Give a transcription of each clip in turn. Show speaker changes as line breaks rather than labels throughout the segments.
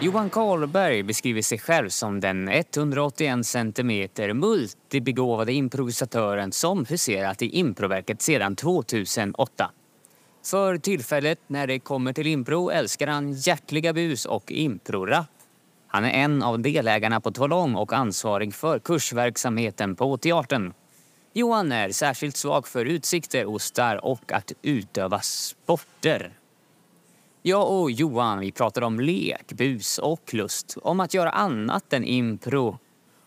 Johan Karlberg beskriver sig själv som den 181 cm multibegåvade improvisatören som huserat i improverket sedan 2008. För tillfället när det kommer till impro älskar han hjärtliga bus och improrap. Han är en av delägarna på Tolong och ansvarig för kursverksamheten på teatern. Johan är särskilt svag för utsikter, ostar och att utöva sporter. Jag och Johan vi pratar om lek, bus och lust, om att göra annat än impro,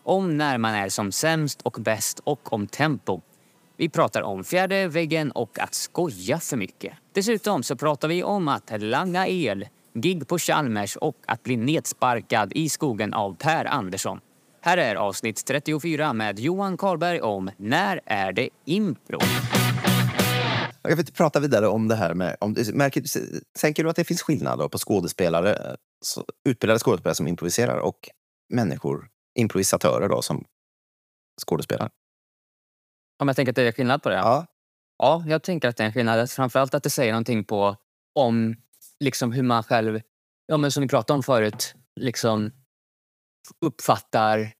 om när man är som sämst och bäst och om tempo. Vi pratar om fjärde väggen och att skoja för mycket. Dessutom så pratar vi om att langa el, gig på Chalmers och att bli nedsparkad i skogen av Per Andersson. Här är avsnitt 34 med Johan Karlberg om När är det impro?
Jag vill prata vidare om det här med... Om, märker, tänker du att det finns skillnader på skådespelare, så, utbildade skådespelare som improviserar och människor, improvisatörer då, som skådespelar?
Om jag tänker att det är skillnad på det?
Ja.
Ja, jag tänker att det är en skillnad. Framförallt att det säger någonting på om liksom hur man själv, ja, men som vi pratade om förut, liksom uppfattar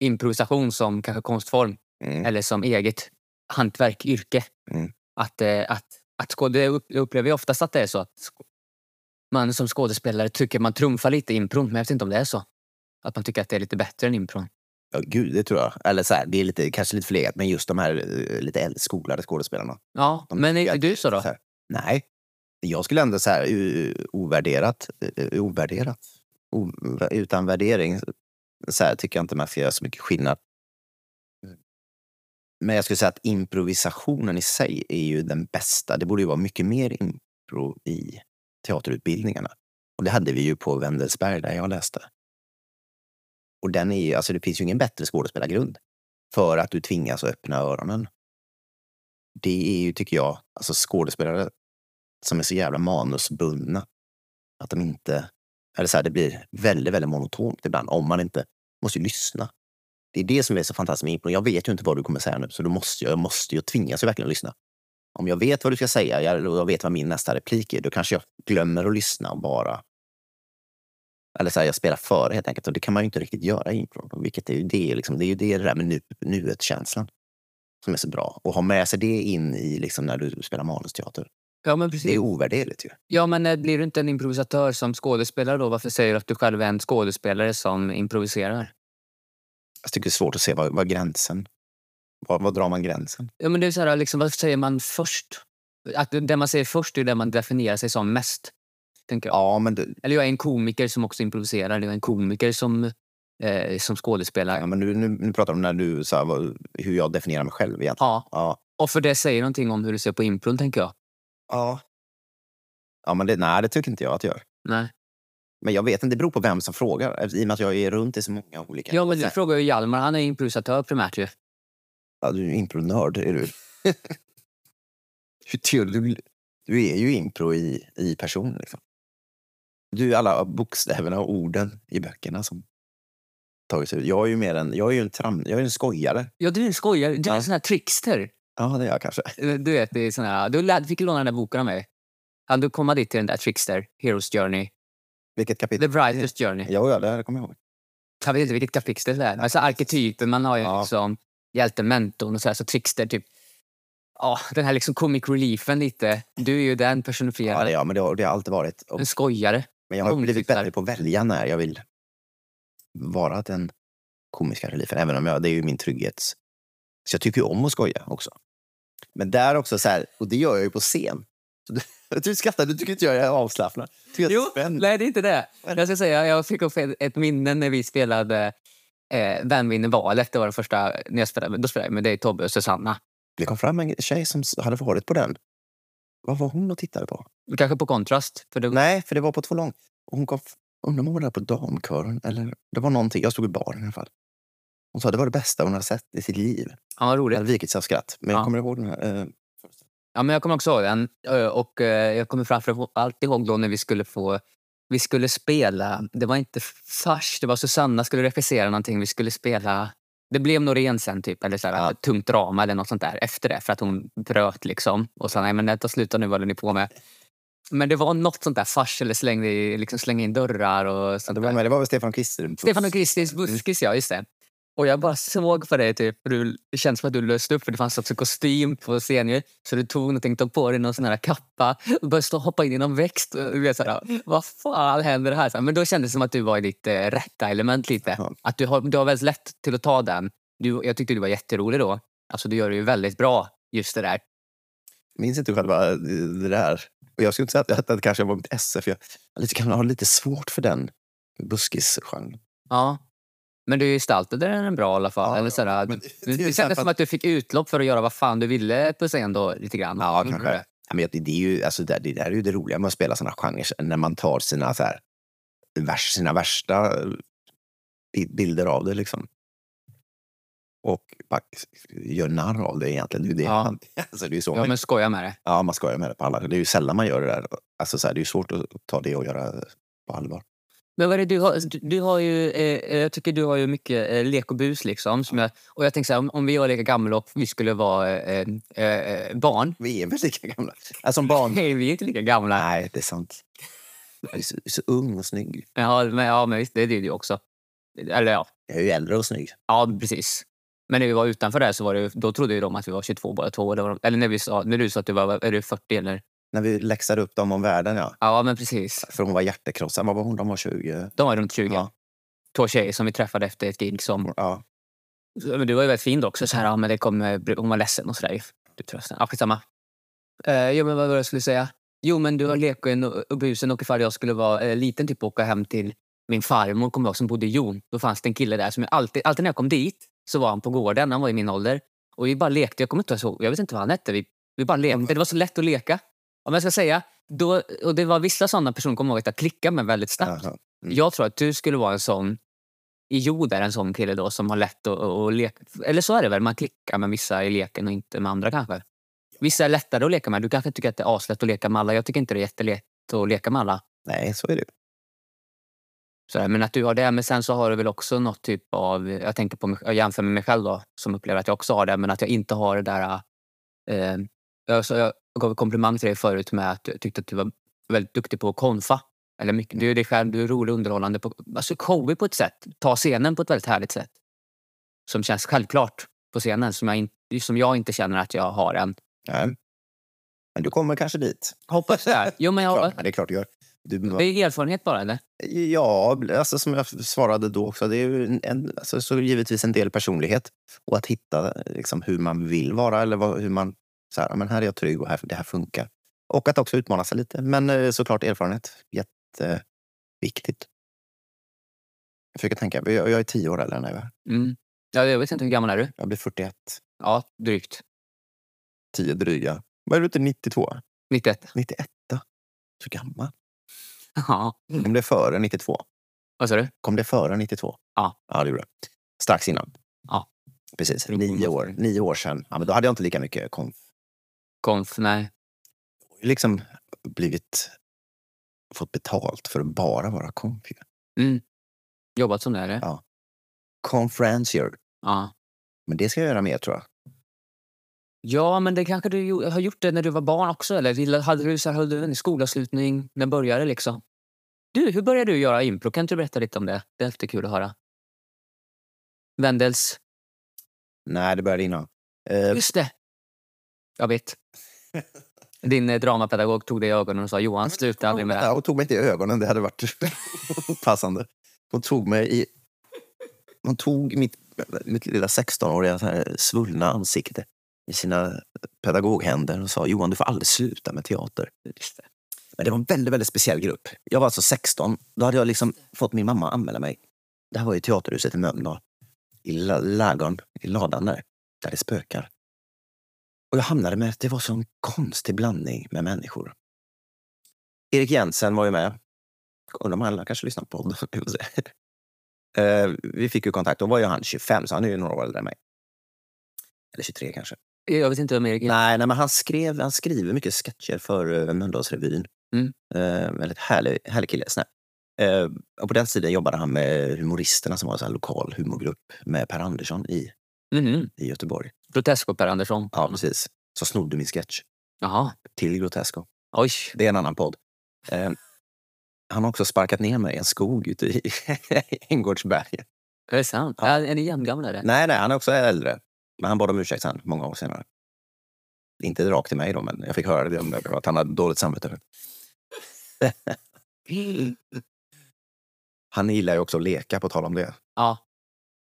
improvisation som kanske konstform
Mm.
eller som eget hantverk, yrke.
Mm.
Att, eh, att, att skåd, jag upp- jag upplever ju oftast att det är så att sk- man som skådespelare tycker man trumfar lite impron, men jag vet inte om det är så. Att man tycker att det är lite bättre än impron.
Ja, gud, det tror jag. Eller så här, det är lite, kanske lite förlegat, men just de här eh, lite äldre skolade skådespelarna.
Ja,
De
men är,
tycker
är
att-
du så då?
Så här, nej. Jag skulle ändå så här, u- ovärderat, eh, ovärderat, o, utan värdering, så här tycker jag inte man ska göra så mycket skillnad. Men jag skulle säga att improvisationen i sig är ju den bästa. Det borde ju vara mycket mer impro i teaterutbildningarna. Och det hade vi ju på Wendelsberg där jag läste. Och den är ju, alltså det finns ju ingen bättre skådespelargrund för att du tvingas att öppna öronen det är ju, tycker jag, alltså skådespelare som är så jävla manusbundna. Att de inte... Eller så här, det blir väldigt, väldigt monotont ibland om man inte måste ju lyssna. Det är det som är så fantastiskt med impro. Jag vet ju inte vad du kommer säga nu, så då måste jag, jag måste ju tvingas ju verkligen att lyssna. Om jag vet vad du ska säga jag- eller jag vet vad min nästa replik är, då kanske jag glömmer att lyssna och bara... Eller så här, jag spelar före helt enkelt och det kan man ju inte riktigt göra i impro. Vilket är ju det, liksom, det, är ju det där med nu, nuet-känslan som är så bra. Och ha med sig det in i liksom när du spelar manusteater.
Ja, men
Det är
precis.
ovärderligt ju.
Ja, men eh, blir du inte en improvisatör som skådespelare då? Varför säger du att du själv är en skådespelare som improviserar?
Jag tycker det är svårt att se vad, vad gränsen... Var, var drar man gränsen?
Ja, men det är så här, liksom, vad säger man först? Att det- det man säger först är det man definierar sig som mest. Tänker jag.
Ja, men, du,
Eller jag är en komiker som också improviserar. Eller jag är en komiker som, eh, som skådespelare.
ja, men nu, nu, nu pratar du om när du, så här, vad, hur jag definierar mig själv egentligen.
Ja,
Ja.
och för det säger någonting om hur du ser på impron, tänker jag.
Ja. Ja, men det, nej, det tycker inte jag att jag gör.
Nej.
Men jag vet inte, det beror på vem som frågar. eftersom- I och med att jag är runt i så många olika...
Ja, men du
Så-
frågar ju Hjalmar. Han är improvisatör primärt ju.
Ja, du är ju impronörd, är du. Hur tror du, du är ju impro i, i person. Liksom. Du är alla bokstäverna och orden i böckerna som tagits ut. Jag är ju mer en, jag är ju en, tram, jag är en skojare.
Ja, du är en skojare. Du är
Ja.
en sån här trickster.
Ja, det är jag kanske.
Eh, Du vet, det är sån här... Du lä- fick låna den där boken av mig. Kan du komma dit till den där trickster? Hero's Journey.
Vilket
The
kapitel?
Brightest Journey.
Ja, ja, det här kommer jag ihåg.
Jag vet inte vilket kapitel det är. Alltså arketypen, man har ju
Ja.
liksom hjälten, mentorn och sådär, så trickster typ. Ja, den här liksom comic reliefen lite. Du är ju den personifierade.
Ja, det, är jag, men det, har, det har alltid varit. Och,
En skojare.
men jag har blivit
omtycklar.
bättre på att välja när jag vill vara den komiska reliefen. Även om jag, det är ju min trygghets... Så jag tycker ju om att skoja också. Men där också så här, och det gör jag ju på scen. Så du, du skrattar, du tycker inte jag är avslappnad. Tycker jag är spänd.
nej det är inte det. Jag ska säga, jag fick upp ett, ett minne när vi spelade eh, Vem vinner valet? Det var den första, när jag spelade, då spelade jag med dig, Tobbe och Susanna.
Det kom fram en tjej som s- hade varit på den. Vad var hon och tittade på?
Kanske på kontrast. För det,
Nej, för det var på två lång. Och Hon kom, f- undrar om hon var där på damkören eller det var någonting. Jag stod i baren i alla fall. Hon sa det var det bästa hon hade sett i sitt liv.
han var
Det
roligt.
hade vikit sig av skratt. Men
Ja.
jag kommer ihåg den här. eh,
Ja, men jag kommer också ihåg den. Ö, Och eh, jag kommer framför allt ihåg då när vi skulle få... Vi skulle spela... Det var inte fars, det var Susanna skulle regissera någonting. Vi skulle spela... Det blev Norén sen, typ. Eller så här,
Ja.
ett tungt drama eller något sånt där efter det. För att hon bröt liksom. Och sa, nej men detta slutar nu, vad håller ni på med? Men det var något sånt där farsel, slängde, i- liksom slänga in dörrar och
Ja,
sånt
det, var,
där.
men det var väl Stefan och Christer?
Stefan och Kristins buskis, ja just det. Och jag bara såg på dig, typ, för du, det känns som att du löste upp för det fanns också kostym på scenen. Så du tog någonting, tog på dig någon sån här kappa och började stå och hoppa in i någon växt. Och du vet, så här, Vad fan händer här? Så här, Men då kändes det som att du var i ditt eh, rätta element lite.
Ja.
Att du har, du har väldigt lätt till att ta den. Du, jag tyckte du var jätterolig då. Alltså du gör det ju väldigt bra, just det där.
minns inte själva eh, det där. Och jag skulle inte säga att, att, att kanske jag var mitt esse, för jag har lite, kan ha lite svårt för den buskisgenren.
Ja. Men du gestaltade den bra i alla fall.
Ja,
Eller
ja.
sådär,
Men
du-
till
det kändes
exempel
som att du fick utlopp för att göra vad fan du ville på scen då, lite grann.
Ja,
Gjorde
kanske.
du det?
Ja, men jag- det, det, är ju, alltså, det, det där är ju det roliga med att spela såna genrer, när man tar sina, så här, vers, sina värsta eh, bi- bilder av det. Liksom. Och bara gör narr av det egentligen. Det är ju det.
Ja.
Man, alltså, det är ju så
Ja, men skoja med det.
Ja, man skojar med det på alla. Det är ju sällan man gör det där. Alltså, så här, det är ju svårt att ta det och göra på allvar.
Men vad är det du har? Du, du har ju, eh, jag tycker du har ju mycket eh, lek och bus liksom. Som jag, och jag tänker så här, om, om vi var lika gamla och vi skulle vara eh, eh, eh, barn.
Vi är väl lika gamla? Alltså, som barn.
Nej, vi är inte lika gamla.
Nej, det är sant. Jag är så, så ung och snygg.
Ja, men, ja, men visst, det är det ju också. Eller ja,
Jag är ju äldre och snygg.
ja precis. Men när vi var utanför där så var det, ju- då trodde ju de att vi var 22 båda två. Eller, vad de- eller när, vi sa, när du sa att du var är du 40 eller?
När vi läxade upp dem om världen, ja.
Ja, men precis.
För hon var hjärtekrossad. Vad var hon? De var 20.
De var runt 20.
Ja.
Två tjejer som vi träffade efter ett gig som
Ja.
Ja, Men du var ju väldigt fin också. Så här, ja, men det kom, eh, hon var ledsen och sådär. Du tröstade. Ja, skitsamma. Eh, jo, men vad var det jag skulle säga? Jo, men du har leken och och busen och ifall jag skulle vara eh, liten typ och åka hem till min farmor kommer jag ihåg, som bodde i Jon. Då fanns det en kille där som jag alltid, alltid när jag kom dit så var han på gården. Han var i min ålder. Och vi bara lekte. Jag kommer inte ihåg, jag vet inte vad han hette. Vi, vi bara lekte. Det var så lätt att leka. Om jag ska säga, då, och det var vissa sådana personer kommer jag ihåg att jag klickade med väldigt snabbt.
Jaha. Mm.
Jag tror att du skulle vara en sån i jord är en sån kille då som har lätt att, att, att leka. Eller så är det väl, man klickar med vissa i leken och inte med andra kanske. Vissa är lättare att leka med. Du kanske tycker att det är aslätt att leka med alla. Jag tycker inte det är jättelätt att leka med alla.
Nej, så är det ju.
Sådär. Men att du har det. Men sen så har du väl också något typ av, jag tänker på mig, jag jämför med mig själv då, som upplever att jag också har det, men att jag inte har det där... Eh, jag, så jag gav komplimang till dig förut med att jag tyckte att du var väldigt duktig på att konfa. Eller mycket, du är dig själv, du är rolig och underhållande. På, alltså showig på ett sätt. Ta scenen på ett väldigt härligt sätt. Som känns självklart på scenen, som jag, in, som jag inte känner att jag har än.
Nej. Men du kommer kanske dit.
Hoppas det. Jo, men jag,
Klart, ja, det är klart du gör. Du,
det är erfarenhet bara, eller?
Ja, alltså som jag svarade då också, det är ju en- en, alltså, så givetvis en del personlighet. Och att hitta liksom, hur man vill vara eller vad, hur man... Så här, "Ja, men här är jag trygg och här, det här funkar. Och att också utmana sig lite. Men eh, såklart erfarenhet. Jätteviktigt. Jag försöker tänka, jag, jag är tio år äldre än dig va?
Mm. Ja, jag vet inte, hur gammal är du?
Jag blir 41.
Ja, drygt.
Tio dryga. Vad är du inte 92?
91.
91? Så gammal.
Ja.
Kom det före 92?
Vad sa du?
Kom det före 92?
Ja.
Ja, det gjorde det. Strax innan.
Ja.
Precis,
Beroende på
nio
vad
år,
som-
nio år sedan. Ja, men då hade jag inte lika mycket konf.
Konf? Nej.
liksom blivit fått betalt för att bara vara konf. ju.
Jobbat som det, eller?
Ja. Conferencier.
Ja.
Men det ska jag göra mer tror jag.
Ja, men det kanske du gjo- har gjort det när du var barn också? Eller Vill- hade du, så här, höll du en skolavslutning? När började det liksom? Du, hur började du göra impro? Kan inte du berätta lite om det? Det är alltid kul att höra. Wendels.
Nej, det började innan. Eh,
Just det! Jag vet. Din eh, dramapedagog tog dig i ögonen och sa Johan, sluta aldrig med det här."
ja, hon tog mig inte i ögonen, det hade varit passande. Hon tog mig i... Hon tog mitt, mitt lilla 16-åriga så här svullna ansikte i sina pedagoghänder och sa Johan, du får aldrig sluta med teater.
Just det.
Men det var en väldigt, väldigt speciell grupp. Jag var alltså 16. Då hade jag liksom fått min mamma att anmäla mig. Det här var ju teaterhuset i Mölndal. I la- ladugården, i ladan där. Där det spökar. Och jag hamnade med att det var så en konstig blandning med människor. Erik Jensen var ju med. Undrar om alla kanske lyssnar på podden. vi får se. Eh, vi fick ju kontakt. Då var ju han 25, så han är ju några år äldre än mig. Eller 23 kanske.
Jag vet inte vem Erik är.
Nej, nej men han, skrev, han skriver mycket sketcher för uh, Mölndalsrevyn.
Mm.
Eh, väldigt härlig, härlig kille. Snäpp. Eh, och på den tiden jobbade han med humoristerna som var en sån här lokal humorgrupp med Per Andersson i,
Mhm.
i Göteborg.
Grotesco Per Andersson.
Ja, precis. Så snodde min sketch
Jaha.
till Grotesco.
Oj.
Det är en annan podd. Eh, han har också sparkat ner mig i en skog ute i Änggårdsberget.
Är det sant?
Ja.
Ja. Är ni jämngamla? eller?
Nej, nej, han är också äldre. Men han bad om ursäkt sen, många år senare. Inte rakt till mig då, men jag fick höra det om det, att han hade dåligt samvete. för det. Han gillar ju också att leka, på tal om det.
Ja.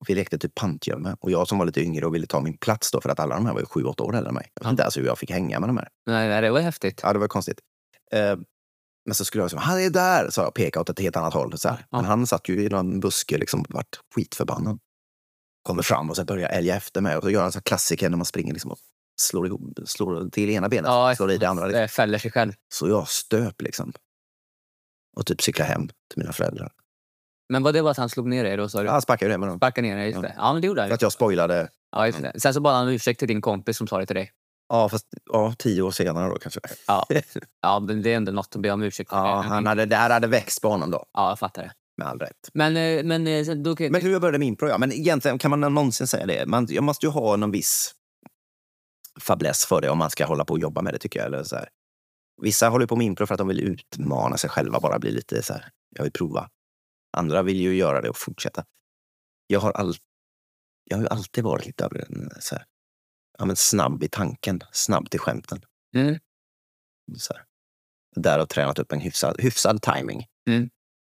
Och vi lekte typ pantgömme. Och jag som var lite yngre och ville ta min plats då, för att alla de här var ju sju, åtta år äldre än mig. Jag vet
Ja.
inte ens hur jag fick hänga med de här.
Nej, nej, det var häftigt.
Ja, det var konstigt. Eh, men så skulle jag säga, han är där, sa jag, peka åt ett helt annat håll. Så här.
Ja.
Men han satt ju i någon buske liksom och vart skitförbannad. Kommer fram och sen börjar älga efter mig. Och så gör han så här klassiker när man springer liksom och slår, ihop, slår till ena benet,
Ja,
slår i det andra. Liksom.
Det fäller sig själv.
Så jag stöp liksom. Och typ cyklar hem till mina föräldrar.
Men var det bara att han slog ner dig då? Sa du?
Han sparkade det med dem.
Sparkade ner dig? Just
Ja.
det. Ja, men det gjorde han.
För
ju.
att jag spoilade.
Ja, just det. Sen så bad han om ursäkt till din kompis som sa det till dig.
Ja, fast ja, tio år senare då kanske.
Ja, ja men det är ändå något att be om ursäkt för.
Ja, han hade, det här hade växt på honom då,
ja jag fattar det.
med all rätt.
Men, eh, men, eh, sen- då, kan-
Men hur jag började med impro, ja. Men egentligen, kan man någonsin säga det? Man, jag måste ju ha någon viss fäbless för det om man ska hålla på och jobba med det, tycker jag. Eller så här. Vissa håller på med impro för att de vill utmana sig själva, bara bli lite så här, jag vill prova. Andra vill ju göra det och fortsätta. Jag har, all, jag har ju alltid varit lite av en så här, ja, men snabb i tanken, snabb till skämten.
Mm.
Så här. Därav tränat upp en hyfsad, hyfsad timing.
Mm.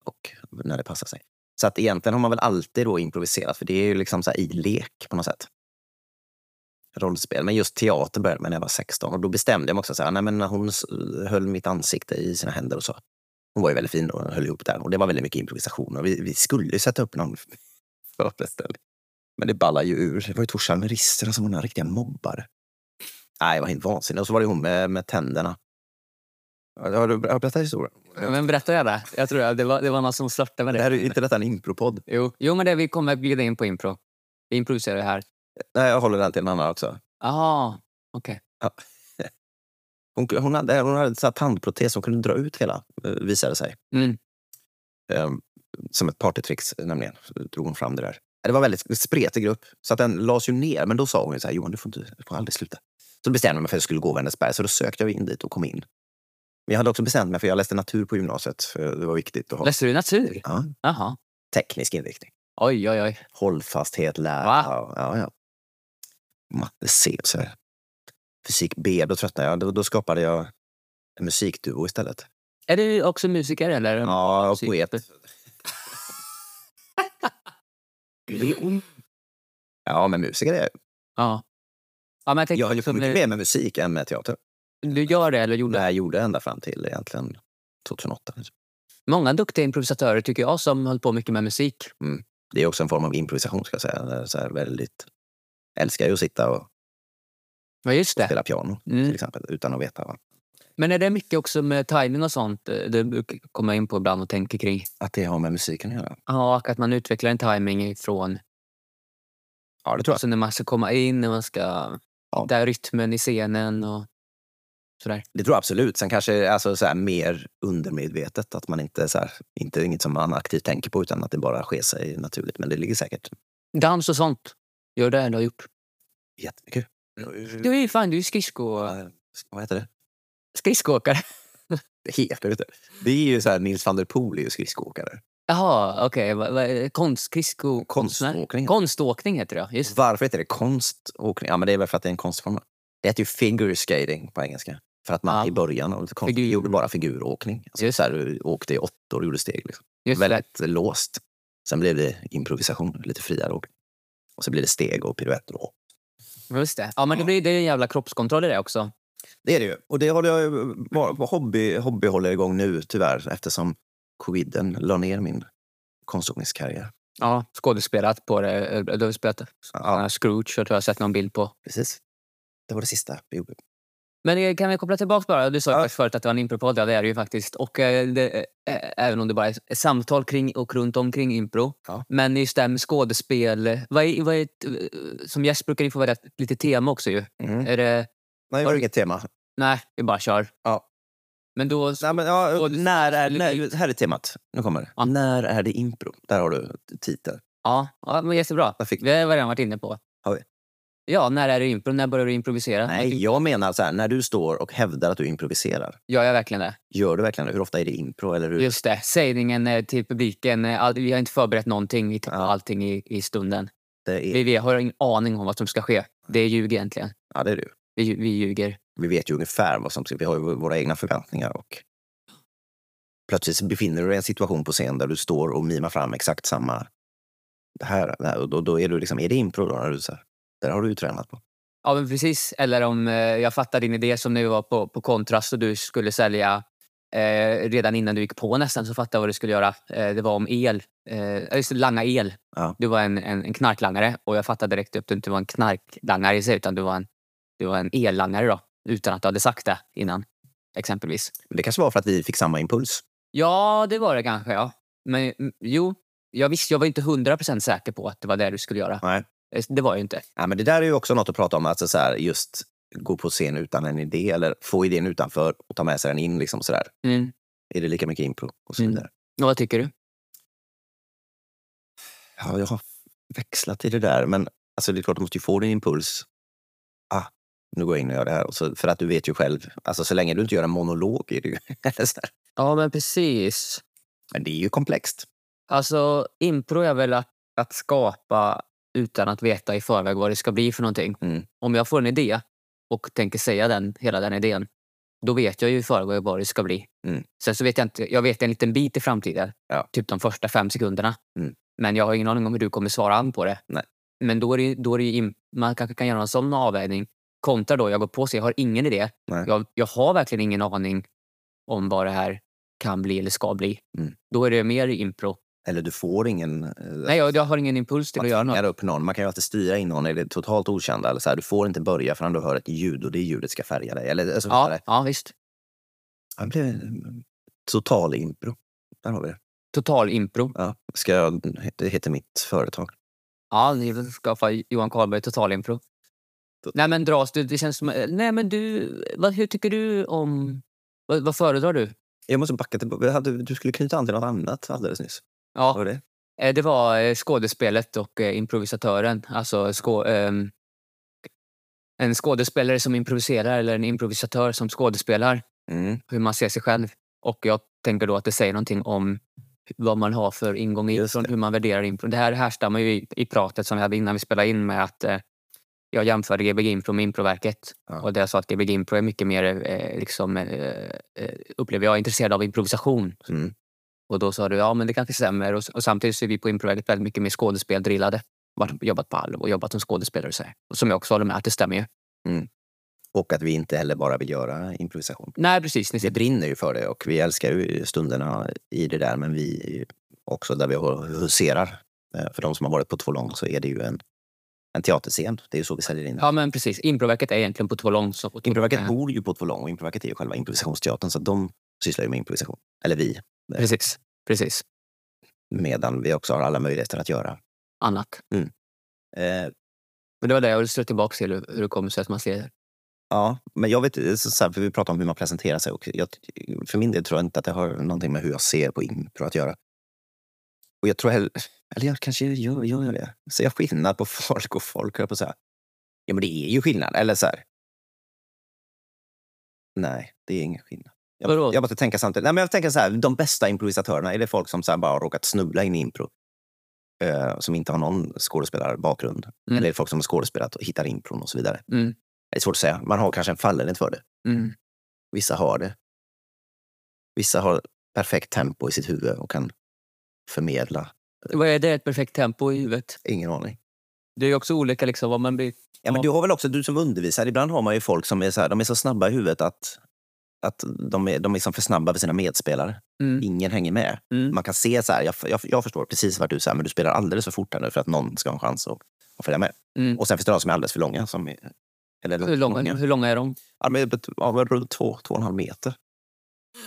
Och när det passar sig. Så att egentligen har man väl alltid då improviserat, för det är ju liksom så här i lek på något sätt. Rollspel. Men just teater började med när jag var 16 och då bestämde jag mig också så här, nej men när hon s- höll mitt ansikte i sina händer och så. Hon var ju väldigt fin då, hon höll ihop där och det var väldigt mycket improvisation och vi, vi skulle ju sätta upp någon föreställning. Men det ballade ju ur. Det var ju Torsan med risterna som var några riktiga mobbare. Nej, det var helt vansinnigt. Och så var det hon med, med tänderna. Har du har du berättat historien?
men berätta gärna. Jag tror att det var, det var någon som flörtade med
Det
dig.
här är ju inte detta en impropodd.
Jo, jo men det, vi kommer att bjuda in på impro. Vi improviserar här.
Nej, jag håller den till en annan också.
Jaha, okej.
Hon, hon hade, hon hade en sån här tandprotes, hon kunde dra ut hela, eh, visade sig.
Mm.
Ehm, som ett partytrix eh, nämligen, så drog hon fram det där. Det var väldigt spretig grupp, så att den lades ju ner. Men då sa hon ju så här, Johan, du får, inte, du får aldrig sluta. Så då bestämde jag mig för att jag skulle gå Vänersberg, så då sökte jag in dit och kom in. Men jag hade också bestämt mig, för jag läste natur på gymnasiet, för det var viktigt att ha
Läste du natur?
ja,
Jaha.
teknisk inriktning.
Oj, oj, oj.
Hållfasthet, lära.
Va?
Ja, ja, ja. Matte C, så här. Fysik B, då tröttnade jag. Då, då skapade jag en musikduo istället.
Är du också musiker eller?
Ja, och
musik.
poet. Ja, men musiker är jag.
Ja. ja men jag tänkte
Jag höll ju på
också
mycket
med,
mer med musik än med teater.
du gör det eller gjorde
Det här gjorde jag ända fram till egentligen 2008.
Många duktiga improvisatörer tycker jag som höll på mycket med musik.
Det är också en form av improvisation, ska jag säga. Så här väldigt... Jag älskar ju att sitta och
Ja, just det.
spela piano, till
Mm.
exempel, utan att veta. Va?
Men är det mycket också med timing och sånt? eh, Det brukar- kommer jag in på ibland och tänker kring.
Att det har med musiken att göra.
Ja, och att man utvecklar en timing ifrån
Ja, det tror jag.
så när man ska komma in, när man ska...
Ja.
Där rytmen i scenen och sådär.
Det tror jag absolut. Sen kanske alltså, så här, mer undermedvetet. Att man inte, så här, inte inget som man aktivt tänker på utan att det bara sker sig naturligt. Men det ligger säkert
Dans och sånt. Gör det eller har gjort.
jättemycket.
Mm.
Mm.
Du är ju fan, du är skridsko,
Ja, Vad heter det?
skridskoåkare.
Det heter det inte. Det är ju så här, Nils van der Poel är ju skridskoåkare.
Jaha, okej. Okay. Konstskridsko... konstnär?
Konståkning.
Konståkning heter det, ja. just det.
Varför heter det konståkning? Ja, men det är väl för att det är en konstform. Det heter ju figure skating på engelska. För att man
Ja.
i början av konst
Figur.
gjorde bara figuråkning. Alltså,
Just
så här, du åkte i åttor och gjorde steg. Liksom.
Just det.
väldigt låst. Sen blev det improvisation, lite friare åkning. Och så blir det steg och piruetter. Och...
Just det. Ja, men det, blir, det är en jävla kroppskontroll i det också.
Det är det ju. Och det håller jag ju- var- var- hobby, hobby håller jag igång nu tyvärr eftersom coviden la ner min konståkningskarriär.
Ja, skådespelat på det. eh, Du har spelat
Ja,
eh, Scrooge, jag tror jag har sett någon bild på.
precis. Det var det sista vi gjorde.
Men eh, kan vi koppla tillbaka bara? Du sa ju
Ja.
faktiskt förut att det var en impropodd, ja det är det ju faktiskt. Och eh, det, eh, även om det bara är ett samtal kring och runt omkring impro.
Ja.
Men just det här med skådespel. eh, Vad är, vad är, ett, eh, som gäst brukar ni få välja ett litet tema också ju.
Mm.
Är det,
Nej, det var inget tema.
nej, vi bara kör.
Ja.
Men då...
Nej, men, ja,
Och du-
när är, när, här är temat. Nu kommer det.
Ja.
När är det impro? Där har du titeln.
Ja, ja men jättebra.
Där fick
Vi har redan varit inne på.
Har vi?
Ja, när är det impro? När börjar du improvisera?
Nej, jag menar så här, när du står och hävdar att du improviserar,
Gör jag verkligen det?
gör du verkligen det? Hur ofta är det impro? Eller hur?
Just det, sägningen eh, till publiken. eh, all- Vi har inte förberett någonting, vi tar
Ja.
allting i, i stunden.
Det
Vi,
är,
vi har ingen aning om vad som ska ske. Det är ljug egentligen.
ja, det är du.
Vi, lju- vi ljuger.
Vi vet ju ungefär vad som ska... Vi har ju våra egna förväntningar och plötsligt så befinner du dig i en situation på scen där du står och mimar fram exakt samma... Det här, det här och då, då är du liksom, är det impro då? När du så här, där har du ju tränat på.
Ja, men precis. Eller om eh, jag fattar din idé som när vi var på, på Kontrast och du skulle sälja eh, redan innan du gick på nästan så fattade jag vad du skulle göra. Eh, det var om el. Eh, ja, just det, langa el.
Ja.
Du var en, en, en knarklangare och jag fattade direkt upp att du inte var en knarklangare i sig utan du var en, du var en ellangare då. Utan att du hade sagt det innan. Exempelvis.
Det kanske var för att vi fick samma impuls.
Ja, det var det kanske. ja. Men mm, jo, jag visste, jag var inte hundra procent säker på att det var det du skulle göra.
Nej.
Eh, Det var jag ju inte.
Ja, men det där är ju också något att prata om, alltså så här, just gå på scen utan en idé eller få idén utanför och ta med sig den in. Liksom så där.
Mm.
Är det lika mycket impro? Och så
Mm.
vidare.
Och Vad tycker du?
Ja, jag har växlat i det där, men alltså, det är klart, du måste ju få din impuls. Ah, nu går jag in och gör det här. Och så, för att du vet ju själv, alltså, så länge du inte gör en monolog är det ju... eller så där.
Ja, men precis.
men det är ju komplext.
Alltså, impro är väl att, att skapa utan att veta i förväg vad det ska bli för någonting.
Mm.
Om jag får en idé och tänker säga den, hela den idén, då vet jag ju i förväg vad det ska bli.
Mm.
Sen så vet jag inte, jag vet en liten bit i framtiden,
Ja.
typ de första fem sekunderna.
Mm.
Men jag har ingen aning om hur du kommer svara an på det.
Nej.
Men då är det, ju- då är det ju im- man kanske kan göra en sån avvägning. Kontra då, jag går på sig, jag har ingen idé.
Nej.
Jag, jag har verkligen ingen aning om vad det här kan bli eller ska bli.
Mm.
Då är det mer impro.
Eller du får ingen... eh,
Nej, jag, jag har ingen impuls till
man
att göra något.
tvingar upp någon. Man kan ju alltid styra in någon i det totalt okända. Eller så här, du får inte börja förrän du hör ett ljud och det ljudet ska färga dig. Eller, alltså, så
Ja,
där.
ja, visst.
Ja, det blev en total impro. Där har vi det.
Total impro.
Ja. Ska jag, det heter mitt företag.
Ja, ni skaffa Johan Karlberg total impro.
Tot-
Nej, men dras du? Det känns som... Nej, men du... Vad, hur tycker du om... Vad, vad föredrar du?
Jag måste backa tillbaka. Vi hade- Du skulle knyta an till något annat alldeles nyss. Vad
Ja,
var det?
eh, det var eh, skådespelet och eh, improvisatören. Alltså skå, ehm, en skådespelare som improviserar eller en improvisatör som skådespelar.
Mm,
Hur man ser sig själv. Och jag tänker då att det säger någonting om vad man har för ingång i
Just
från
det.
hur man värderar impro. Det här härstammar ju i, i pratet som vi hade innan vi spelade in med att eh, jag jämförde Gbg Impro med Improverket.
Ja.
Och där jag sa att Gbg Impro är mycket mer, eh, liksom, eh, eh, upplever jag, intresserad av improvisation.
mm.
Och då sa du, ja men det kanske stämmer. Och, s- och samtidigt så är vi på Improverket väldigt mycket mer skådespeldrillade. Varit- Jobbat på Alv och jobbat som skådespelare och så. här. Och som jag också håller med, att det stämmer ju.
Och att vi inte heller bara vill göra improvisation.
Nej precis, ni
Det
ser.
brinner ju för det och vi älskar ju stunderna i det där men vi är ju också där vi huserar. Eh, För de som har varit på Två lång så är det ju en, en teaterscen. Det är ju så vi säljer in det.
Ja men precis, Improverket är egentligen på två lång... så- på två-
Improverket
eh,
bor ju på Två lång och Improverket är ju själva improvisationsteatern så de sysslar ju med improvisation. Eller vi,
Precis, precis.
medan vi också har alla möjligheter att göra.
Annat.
Eh,
Men det var det jag ville slå tillbaka till, hur hur det kommer sig att man ser det.
ja, men jag vet så så här, för vi pratar om hur man presenterar sig och jag, för min del tror jag inte att det har någonting med hur jag ser på impro att göra. Och jag tror heller, eller jag kanske gör, jag gör det. Ser jag skillnad på folk och folk? höll Jag på så här. Ja, men det är ju skillnad. Eller så här. Nej, det är ingen skillnad.
Vadå?
Jag, jag måste tänka samtidigt. Nej, men jag tänker så här, de bästa improvisatörerna, är det folk som så här bara har råkat snubbla in i impro? Eh, som inte har någon skådespelarbakgrund?
Mm.
Eller är det folk som har skådespelat och hittar impron och så vidare?
Mm.
Det är svårt att säga. Man har kanske en fallenhet för det.
Mm.
Vissa har det. Vissa har perfekt tempo i sitt huvud och kan förmedla.
Vad är det ett perfekt tempo i huvudet?
Ingen aning.
Det är ju också olika liksom vad man blir.
Ja, men
Ja.
du har väl också, du som undervisar, ibland har man ju folk som är så, här, de är så snabba i huvudet att, att de är, de är liksom för snabba för sina medspelare.
Mm.
Ingen hänger med.
Mm.
Man kan se så här, jag, jag, jag förstår precis vart du säger, men du spelar alldeles för fort här nu för att någon ska ha en chans att, att följa med.
Mm.
Och sen finns det de som är alldeles för långa. Som är, eller
Hur, långa, hur långa är de?
Ja, men, ja, men runt två, två och en halv meter.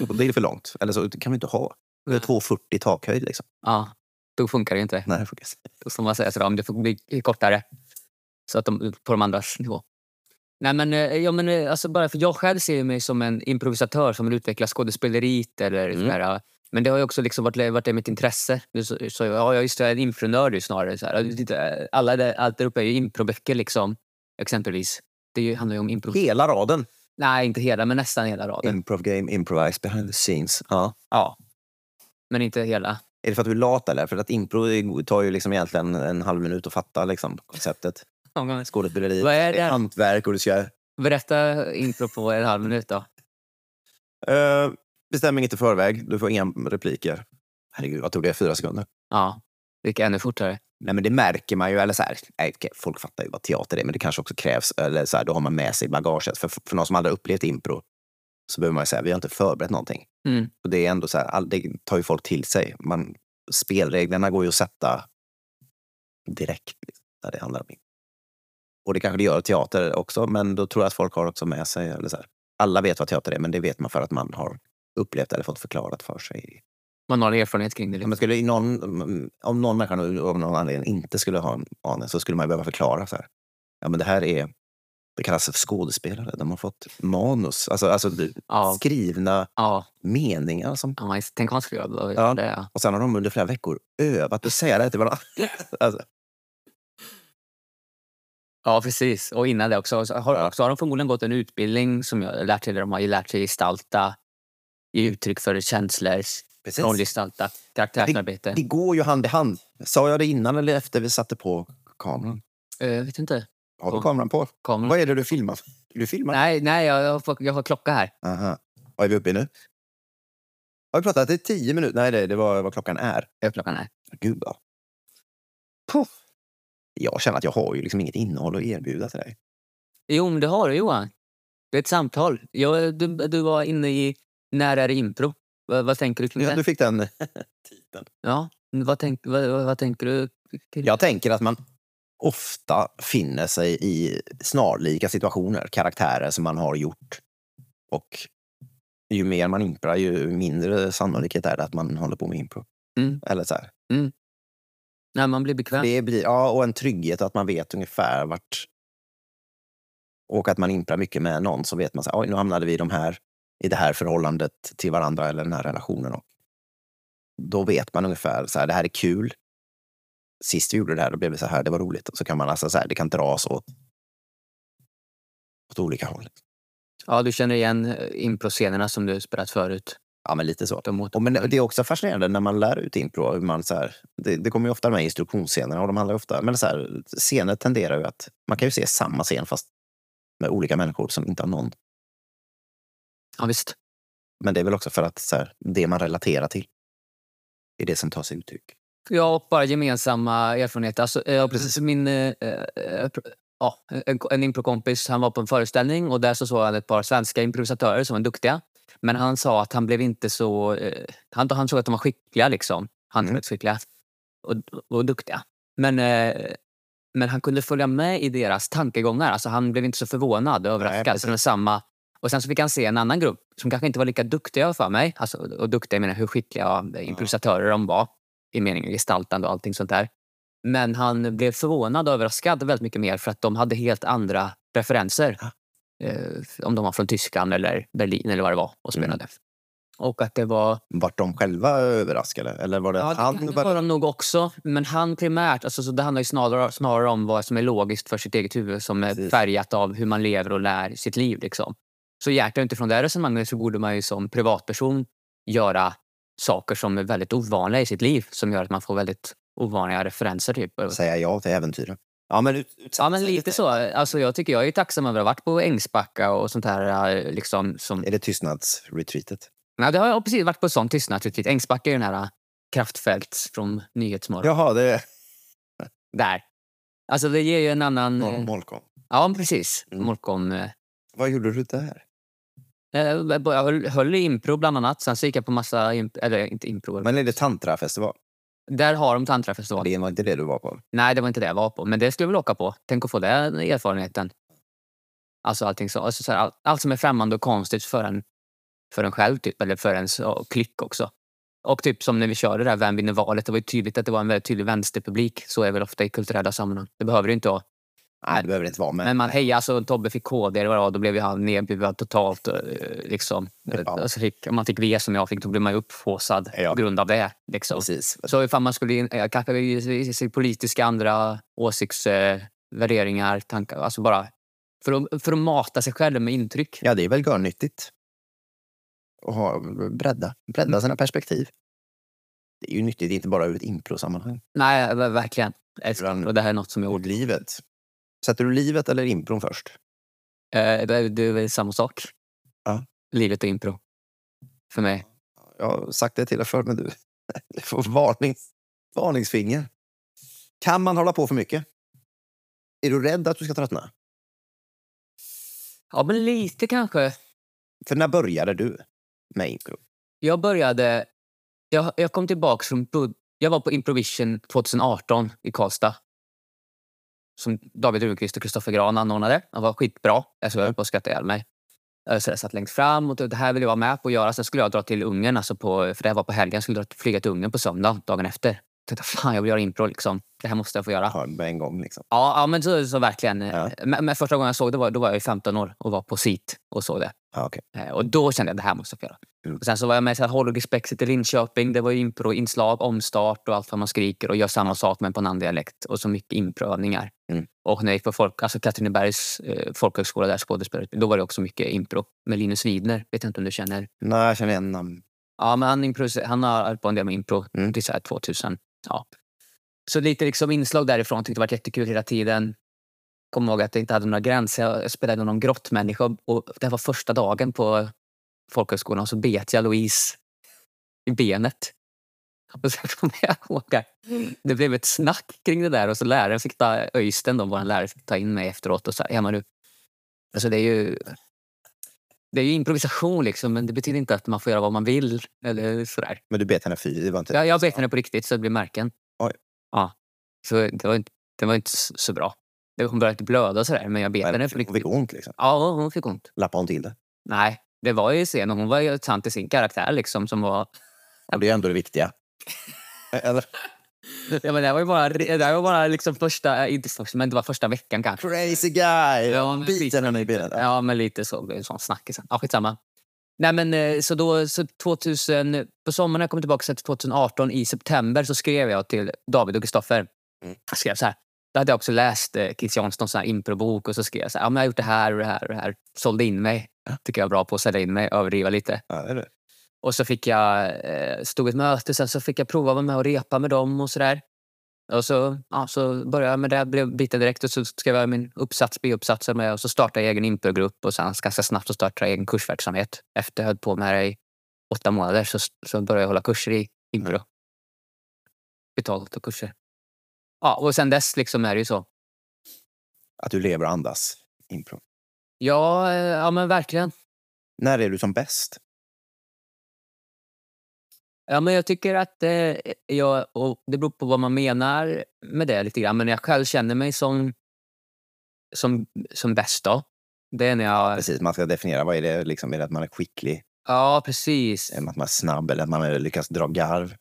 Och Det är för långt. Eller så kan vi inte ha. Det är 2,40 takhöjd. Liksom.
Ja, då funkar det ju inte.
Nej, det funkar inte.
Då får man säga sådär, om det får bli kortare. Så att de på de andras nivå. Nej men, eh, ja, men eh, alltså bara för jag själv ser ju mig som en improvisatör som vill utveckla skådespeleriet eller
Mm.
sådär. eh, Men det har ju också liksom varit, varit det mitt intresse. Nu Så, så, eh, jag- ja, just det, jag är en infronörd ju snarare. Så här. Alla där, allt där uppe är ju improböcker liksom. exempelvis. Det är ju- handlar ju om improv...
Hela raden.
Nej, inte hela, men nästan hela raden.
Improv game, improvise, behind the scenes. Ja. ja.
Men inte hela.
Är det för att du är lat eller? För att impro är- tar ju liksom egentligen en halv minut att fatta liksom, konceptet. Skådespeleri,
Vad är det?
hantverk och du ska...
Berätta impro på en halv minut då.
Eh, bestäm inget i förväg, du får inga repliker. Herregud, vad tog det? Fyra sekunder?
Ja, det gick ännu fortare.
Nej, men det märker man ju. Eller så här, nej, okej, folk fattar ju vad teater är, men det kanske också krävs. Eller så här, då har man med sig bagaget. För, för någon som aldrig har upplevt impro så behöver man ju säga, vi har inte förberett någonting.
Mm.
Och det är ändå så här, all, det tar ju folk till sig. Man, spelreglerna går ju att sätta direkt liksom, när det handlar om impro. Och det kanske det gör i teater också, men då tror jag att folk har också med sig. Eller så här. Alla vet vad teater är, men det vet man för att man har upplevt eller fått förklarat för sig
Man har erfarenhet kring det.
Ja, men
Liksom.
skulle någon, om någon människa nu av någon anledning inte skulle ha en aning så skulle man ju behöva förklara så här. Ja, men det här är, det kallas för skådespelare. De har fått manus, alltså, alltså du-
Ja,
skrivna
ja,
meningar. Som,
ja, nice. tänk om man skulle göra det.
Ja.
Det, ja.
och sen har de under flera veckor övat att säga det här till varandra. Alltså,
ja, precis. Och innan det också. Så har, så har de förmodligen gått en utbildning som jag lärt sig. där De har ju lärt sig gestalta, ge uttryck för känslor,
precis.
rollgestalta, karaktärsarbete.
Det går ju hand i hand. Sa jag det innan eller efter vi satte på kameran?
Jag Eh, vet inte.
Har du
Ja.
kameran på?
Kameran.
Vad är det du filmar? Du filmar?
Nej, nej jag, jag, får, jag har klocka här.
Aha. Vad är vi uppe i nu? Har vi pratat i tio minuter? Nej, det, det var vad klockan är.
Jag har klockan här.
Gud, ja. Puff. Jag känner att jag har ju liksom inget innehåll att erbjuda till dig.
Jo, men det har du Johan. Det är ett samtal. Jag, du, du var inne i När är det impro? Vad, vad tänker du kring
Ja,
det?
du fick den titeln.
Ja, vad, tänk, vad, vad, vad tänker du? kring-
Jag tänker att man ofta finner sig i snarlika situationer, karaktärer som man har gjort. Och ju mer man imprar, ju mindre sannolikhet är det att man håller på med impro.
Mm.
Eller så här.
När man blir bekväm.
Det blir, ja, och en trygghet att man vet ungefär vart... Och att man imprar mycket med någon så vet man så här, "Oj, nu hamnade vi i, de här, i det här förhållandet till varandra eller den här relationen. Och då vet man ungefär så här, det här är kul. Sist vi gjorde det här, då blev det så här, det var roligt. Och så kan man alltså så här, det kan dras åt, åt olika håll.
Ja, du känner igen eh, improscenerna som du spelat förut.
Ja, men lite så.
De åter-
Och men det är också fascinerande när man lär ut impro. Hur man så här, det, det kommer ju ofta de här instruktionsscenerna och de handlar ju ofta... Men så här, scener tenderar ju att... Man kan ju se samma scen fast med olika människor som inte har någon.
Ja, visst.
Men det är väl också för att så här, det man relaterar till är det som tar sig uttryck.
Ja, och bara gemensamma erfarenheter. Alltså, eh, precis. Min, eh, eh, pr- ja, en, en improkompis han var på en föreställning och där så såg han ett par svenska improvisatörer som var duktiga. Men han sa att han blev inte så... Eh, han, han såg att de var skickliga, liksom. hantverksskickliga och, och duktiga. Men, eh, men han kunde följa med i deras tankegångar. Alltså, han blev inte så förvånad och överraskad.
precis.
Så det var samma. Och sen så fick han se en annan grupp som kanske inte var lika duktiga för mig. Alltså, och duktiga, jag menar hur skickliga improvisatörer de var i meningen gestaltande och allting sånt där. Men han blev förvånad och överraskad väldigt mycket mer för att de hade helt andra preferenser.
Ja.
Eh, om de var från Tyskland eller Berlin eller vad det var och
Mm.
spelade. Och att det var...
Vart de själva överraskade? Eller var det
Ja,
att
det
han...
kan
var-
vara nog också. Men han primärt, alltså, så det handlar ju snarare, snarare om vad som är logiskt för sitt eget huvud som är
Precis.
färgat av hur man lever och lär sitt liv. Liksom. Så jäklar utifrån det här resonemanget så borde man ju som privatperson göra saker som är väldigt ovanliga i sitt liv som gör att man får väldigt ovanliga referenser. Typ.
Säga ja till äventyren. Ja, men ut, utsätta
Ja, men
sig
lite så. Alltså, jag tycker jag är ju tacksam över att ha varit på Ängsbacka och sånt här. eh, Liksom, som...
Är det tystnadsretreatet?
Nej, det har jag precis varit på sån tystnadsretreat. Ängsbacka är ju den här eh, kraftfält från Nyhetsmorgon.
Jaha, det är
där. Alltså det ger ju en annan... eh,
Molkom.
Ja, men precis.
Mm.
Molkom. eh,
Vad gjorde du där?
Jag bara höll- höll i impro bland annat. Sen så gick jag på massa... Imp- eller inte impro.
Men är det tantrafestival?
Där har de tantrafestival.
Det var inte det du var på?
Nej, det var inte det jag var på. Men det skulle jag väl åka på. Tänk att få den erfarenheten. Alltså allting så, alltså så här, all, allt som är främmande och konstigt för en, för en själv, typ, eller för ens ja, klick också. Och typ som när vi körde det här Vem vinner valet? Det var ju tydligt att det var en väldigt tydlig vänsterpublik. Så är det väl ofta i kulturella sammanhang. Det behöver det ju inte vara.
Nej, det behöver det inte vara. Men,
Men man hejade så Tobbe fick KD eller vad det var, då blev ju han nedbuad totalt. eh, Liksom.
Ja.
Alltså fick, om man fick V som jag fick, då blev man ju upphaussad
Ja.
på grund av det. Liksom.
precis.
Så ifall man skulle in, eh, kanske i- i- i- i politiska andra åsikts... eh, värderingar, tankar. Alltså bara för att, för att mata sig själv med intryck.
Ja, det är väl görnyttigt. Och ha, bredda,
Mm.
bredda sina perspektiv. Det är ju nyttigt, inte bara ur ett improsammanhang.
Nej, ver- verkligen. Jag älskar
Ibland-
det. Och det här är något som jag
Och
gjorde.
livet. Sätter du livet eller impron först?
Eh, det är- det är väl samma sak.
Ja.
Livet och impro. För mig.
Jag har sagt det till dig förr, men du du får varning, varningsfinger. Kan man hålla på för mycket? Är du rädd att du ska tröttna?
Ja, men lite kanske.
För när började du med impro?
Jag började... Jag, jag kom tillbaka från... Bud- Jag var på Improvision 2018 i Karlstad. Som David Rudqvist och Kristoffer Gran anordnade. Det var skitbra. Alltså,
Mm.
jag höll på att skratta ihjäl mig. Eh, Så jag satt längst fram och typ, det här ville jag vara med på att göra. Sen skulle jag dra till Ungern, alltså på, för det här var på helgen. Jag skulle dra, flyga till Ungern på söndag dagen efter. Jag tänkte fan, jag vill göra impro. Liksom. Det här måste jag få göra.
Ja, med en gång liksom.
Ja, ja men så, så verkligen.
Ja.
Men, men första gången jag såg det var, då var jag ju 15 år och var på SIT och såg det.
Ja, okej.
Eh, Och då kände jag att det här måste jag få göra.
Mm.
Och sen så var jag med i Hologispexet i Linköping. Det var ju improinslag, omstart och allt vad man skriker och gör samma sak men på en annan dialekt. Och så mycket inprövningar.
Mm.
Och när jag gick på folk, alltså Katrinebergs eh, folkhögskola där, skådespelarutbildning, då var det också mycket impro. Med Linus Widner, vet jag inte om du känner.
Nej, jag känner igen namn.
Ja, men han, improviser- han har hållit på en del med impro
Mm.
till så här 2000. Ja. Så lite liksom inslag därifrån. Tyckte det var jättekul hela tiden. Kom ihåg att jag inte hade några gränser. Jag spelade någon grottmänniska. Och det här var första dagen på folkhögskolan. Och så bet jag Louise i benet. Och sen kommer jag ihåg att det blev ett snack kring det där. Och så läraren fick ta, Öysten, då, vår lärare, fick ta in mig efteråt och sa ja, men du, alltså det är ju det är ju improvisation, liksom, men det betyder inte att man får göra vad man vill. Eller sådär.
Men du bet henne fy, det var inte...
Jag, jag bet henne på riktigt så det blev märken.
Oj.
Ja. Så det var inte, det var inte s- så bra. Det- Hon började inte blöda och sådär, men jag bet
Men
henne på
Hon fick
riktigt.
ont liksom.
Ja, hon fick ont.
Lappade hon till det?
Nej, det var ju scenen. Hon var ju sant i sin karaktär liksom. Som var,
Ja, det är ändå det viktiga. Eller?
ja, men det här var ju bara, det här var bara liksom första, inte första, men det var första veckan kanske.
Crazy guy!
Ja, men precis.
Biten henne i benet.
Ja, men lite så. blev det en Sån snackis. Ja, skitsamma. Nej, men eh, så då, så 2000, på sommaren när jag kom tillbaka till 2018 i september så skrev jag till David och Kristoffer.
Mm.
Jag skrev så här. Då hade jag också läst eh, Chris Janssons sån här improbok och så skrev jag så här, ja, men jag har gjort det här och det här och det här. Sålde in mig. Tycker jag är bra på att sälja in mig, överdriva lite.
Ja, det är det.
Och så fick jag, eh, stod ett möte, sen så fick jag prova att vara med och repa med dem och sådär. Och så, ja, så började jag med det, blev biten direkt och så skrev jag min uppsats, B-uppsatsen med och så startade jag egen improgrupp och sen ganska snabbt så startade jag egen kursverksamhet. Efter jag höll på med det i åtta månader så, så började jag hålla kurser i impro. Betalt och kurser. Ja, och sen dess liksom är det ju så.
Att du lever och andas impro.
Ja, eh, ja men verkligen.
När är du som bäst?
Ja, men jag tycker att eh, jag, och det beror på vad man menar med det lite grann, men jag själv känner mig som, som, som bäst då. Det är när jag...
Precis, man ska definiera vad är det liksom, är det att man är skicklig,
Ja, precis.
är det att man är snabb eller att man lyckas dra garv?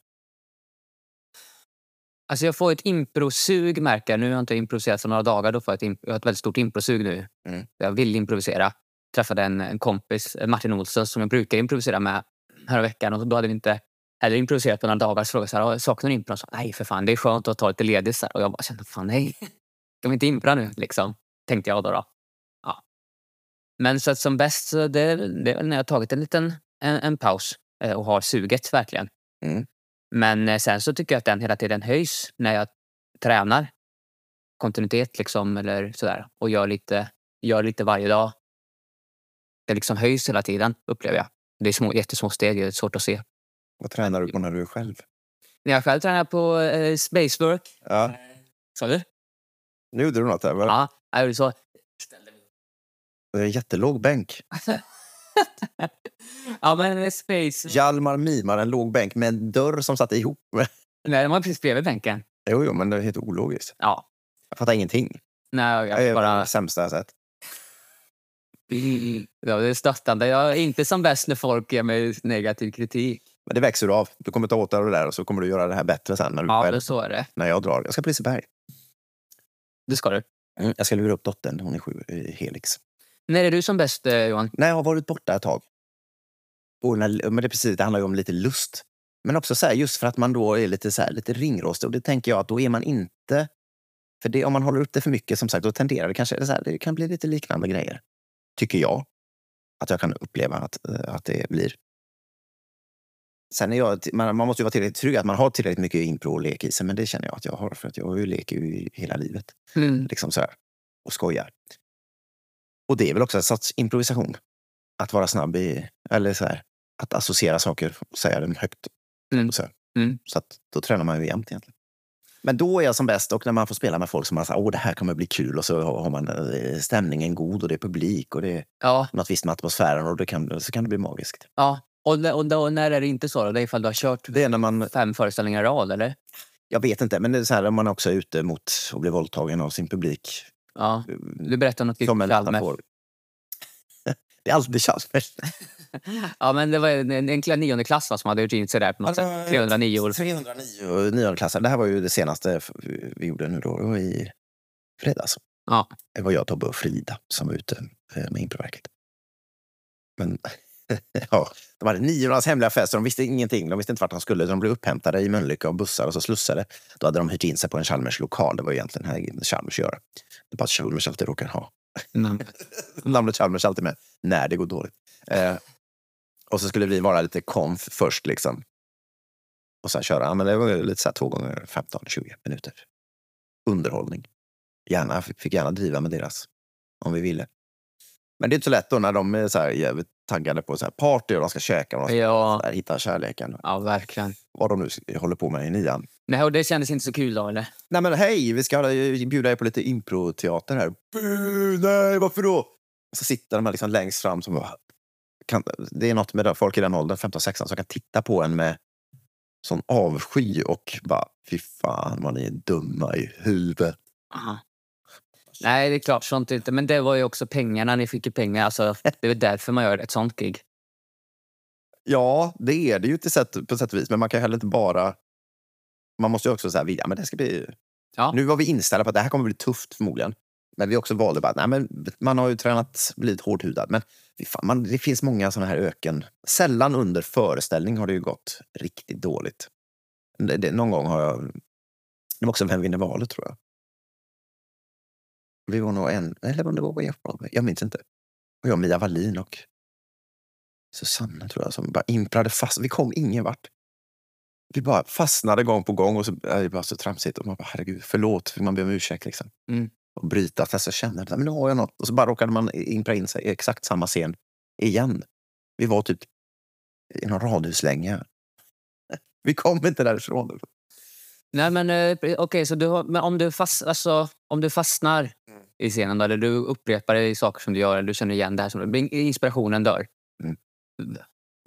Alltså jag får ett improsug märker jag. Nu har jag inte improviserat för några dagar. Då får jag, ett imp- jag har ett väldigt stort improsug nu.
Mm.
Jag vill improvisera. träffade en, en kompis, eh, Martin Olsson, som jag brukar improvisera med här veckan. Och då hade vi inte heller improviserat på några dagar. Så frågade jag så här, "Ah, saknar du impro? Och så, Nej, för fan, det är skönt att ta lite ledigt. Så här. Och jag bara kände, fan nej. Ska vi inte impra nu? Liksom, tänkte jag då. då. Ja. Men så att som bäst, så det, det är väl när jag har tagit en liten en, en paus eh, och har suget verkligen. Men eh, sen så tycker jag att den hela tiden höjs när jag tränar kontinuitet liksom eller sådär och gör lite, gör lite varje dag. Det liksom höjs hela tiden upplever jag. Det är små, jättesmå steg, det är svårt att se.
Vad tränar du på när du är själv?
När jag själv tränar på eh, spacework.
Ja,
Sa du?
nu gjorde du något där. va?
Ja, jag gjorde så.
Det är en jättelåg bänk.
Ja, men eh, space...
Hjalmar mimar en låg bänk med en dörr som satt ihop.
Nej, den var precis bredvid bänken.
jo, jo, men det är helt ologiskt.
Ja.
Jag fattar ingenting.
Nej,
Jag är
jag bara...
sämsta sätt.
Ja, det är stöttande. Jag är inte som bäst när folk ger mig negativ kritik.
Men det växer du av. Du kommer ta åt dig av det där och så kommer du göra det här bättre sen när, du
Ja,
själv,
men så är det.
när jag drar. Jag ska på Liseberg.
Det ska du.
Mm, Jag ska lura upp dottern. Hon är sju i Helix.
När är du som bäst, eh, Johan?
Nej, jag har varit borta ett tag. Och när, men det, är precis, det handlar ju om lite lust. Men också så här, just för att man då är lite, så här, lite ringrostig. Och det tänker jag att då är man inte För det, om man håller upp det för mycket, som sagt, då tenderar det kanske, så här, det kan bli lite liknande grejer. Tycker jag. Att jag kan uppleva att, eh, att det blir. Sen är jag, man, man måste ju vara tillräckligt trygg att man har tillräckligt mycket impro och lek i sig, men det känner jag att jag har, för att jag leker ju hela livet
Mm.
liksom så här, och skojar. Och det är väl också en sorts improvisation. Att vara snabb i, eller så här, att associera saker och säga dem högt.
Mm.
Och så här.
Mm.
så att då tränar man ju jämt egentligen. Men då är jag som bäst och när man får spela med folk som man säger åh det här kommer bli kul och så har har man eh, stämningen god och det är publik och det är
Ja,
något visst med atmosfären och det kan, så kan det bli magiskt.
ja. Och, när- och, då, och när är det inte så då? Det är ifall du har kört
Det är när man,
fem föreställningar i rad eller?
jag vet inte, men det är så här om man också är ute mot att bli våldtagen av sin publik. eh,
Ja. Du berättade något
Som en
kul med
metafor. Det är alltid Chalmers.
Ja, men det var en, en, en kla- niondeklassare som hade gjort in sig där på något
Ja, det var-
sätt. 309 år.
309 niondeklassare. Det här var ju det senaste f- vi gjorde nu då, det var i fredags.
Ja.
Det var jag, Tobbe och Frida som var ute eh, med improverket. Men ja, de hade niornas hemliga fest och de visste ingenting. De visste inte vart de skulle. De blev upphämtade i Mölnlycke av bussar och så slussade. Då hade de hyrt in sig på en Chalmers lokal. Det var ju egentligen här Chalmers gör. Det är bara att Chalmers alltid råkar ha
Mm.
namnet Chalmers alltid med när det går dåligt. Eh, och så skulle vi vara lite konf först liksom. Och sen köra, ja, men det var ju lite så här två gånger 15-20 minuter. Underhållning. Gärna, fick gärna driva med deras, om vi ville. Men det är inte så lätt då när de är så här jävligt taggade på så här party och de ska käka och de ska
Ja,
där, hitta kärleken.
ja, verkligen.
Vad de nu håller på med i nian.
Nej, och det kändes inte så kul då eller?
Nej men hej, vi ska eh, bjuda er på lite improteater här. Bu, nej, varför då? Och så sitter de här liksom längst fram. Som bara, kan, det är något med det, folk i den åldern, 15-16, som kan titta på en med sån avsky och bara fy fan vad ni är dumma i huvudet.
Aha. Nej, det är klart sånt inte. Men det var ju också pengarna. Ni fick ju pengar. Alltså, det är väl därför man gör ett sånt gig.
Ja, det är det ju till sätt, på sätt och vis, men man kan ju heller inte bara... Man måste ju också säga, vilja, men det ska bli...
Ja.
Nu var vi inställda på att det här kommer bli tufft förmodligen. Men vi också valde bara, nej men man har ju tränat, blivit hårdhudad. Men fy fan, man, det finns många såna här öken. Sällan under föreställning har det ju gått riktigt dåligt. Det, det, någon gång har jag... Det var också Vem vinner valet tror jag. Vi var nog en, eller om det var Jeff Broadway, jag minns inte. Och jag och Mia Wallin och Susanne tror jag som bara imprade fast. Vi kom ingen vart. Vi bara fastnade gång på gång och så är det bara så tramsigt. Och man bara, herregud, förlåt, för man ber om ursäkt liksom.
Mm.
Och bryta, fast jag känner att men nu har jag något. Och så bara råkade man impra in sig i exakt samma scen igen. Vi var typ i någon radhuslänga. Vi kom inte därifrån.
Nej, men eh, okej, så du, har- men om, du fast, alltså, om du fastnar
Mm.
i scenen då, eller du upprepar det i saker som du gör, eller du känner igen det här, som, inspirationen dör.
Mm.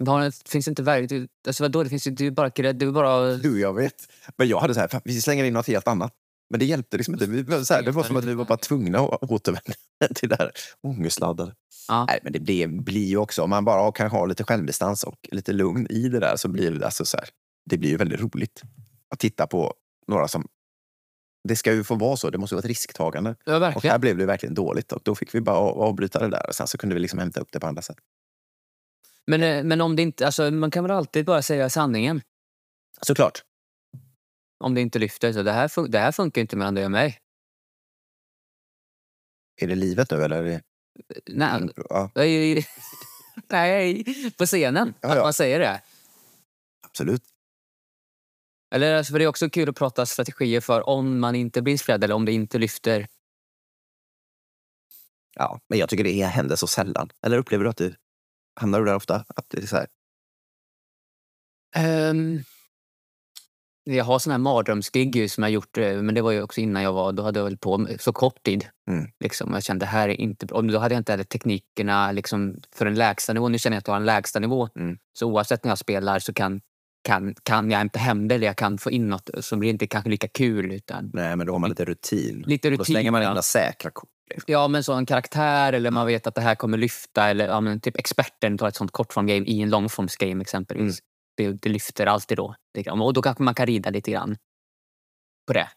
Har, det finns inte verktyg? Alltså vadå, det finns ju det är ju bara... grädde, Det är bara
Du, jag vet. Men jag hade så här, "Fan, vi slänger in något helt annat. Men det hjälpte liksom inte. Vi, blev så här, det var som att vi var bara tvungna att återvända till det här ångestladdade.
Ja.
Nej, men det, det blir ju också, om man bara kan ha lite självdistans och lite lugn i det där så blir det alltså så här, det blir ju väldigt roligt att titta på några som... Det ska ju få vara så, det måste ju vara ett risktagande.
ja,
Och
verkligen.
här blev det verkligen dåligt och då fick vi bara av- avbryta det där. Och sen så kunde vi liksom hämta upp det på andra sätt.
Men, eh, men om det inte... Alltså, man kan väl alltid bara säga sanningen
Såklart.
om det inte lyfter. Så det, här fun- det här funkar inte mellan dig och mig.
Är det livet nu eller? Är det...
Nej,
Ja,
det är ju- Nej, på scenen.
Ja,
Att
ja.
man säger det.
absolut.
Eller alltså, för det är också kul att prata strategier för om man inte blir inspirerad eller om det inte lyfter.
Ja, men jag tycker det händer så sällan. Eller upplever du att du hamnar du där ofta? Att det är så här,
Ehm, jag har såna här mardrömsgig ju som jag gjort, eh, men det var ju också innan jag var, då hade jag väl på med så kort tid.
Mm.
Liksom, jag kände det här är inte bra. Och Då hade jag inte heller teknikerna liksom, för en lägsta nivå. Nu känner jag att jag har en lägsta nivå.
Mm.
Så oavsett när jag spelar så kan, kan, kan jag inte hem det eller jag kan få in något som blir inte kanske lika kul. Utan
nej, men då har man lite rutin.
lite rutin.
Då slänger man in
ja.
några säkra kort. liksom.
Ja, men så en karaktär eller man vet att det här kommer lyfta. Eller ja, men typ experten tar ett sånt kortformgame i en långformsgame
Mm.
exempelvis. Det, det lyfter alltid då. lite grann. Och då kanske man kan rida lite grann på det.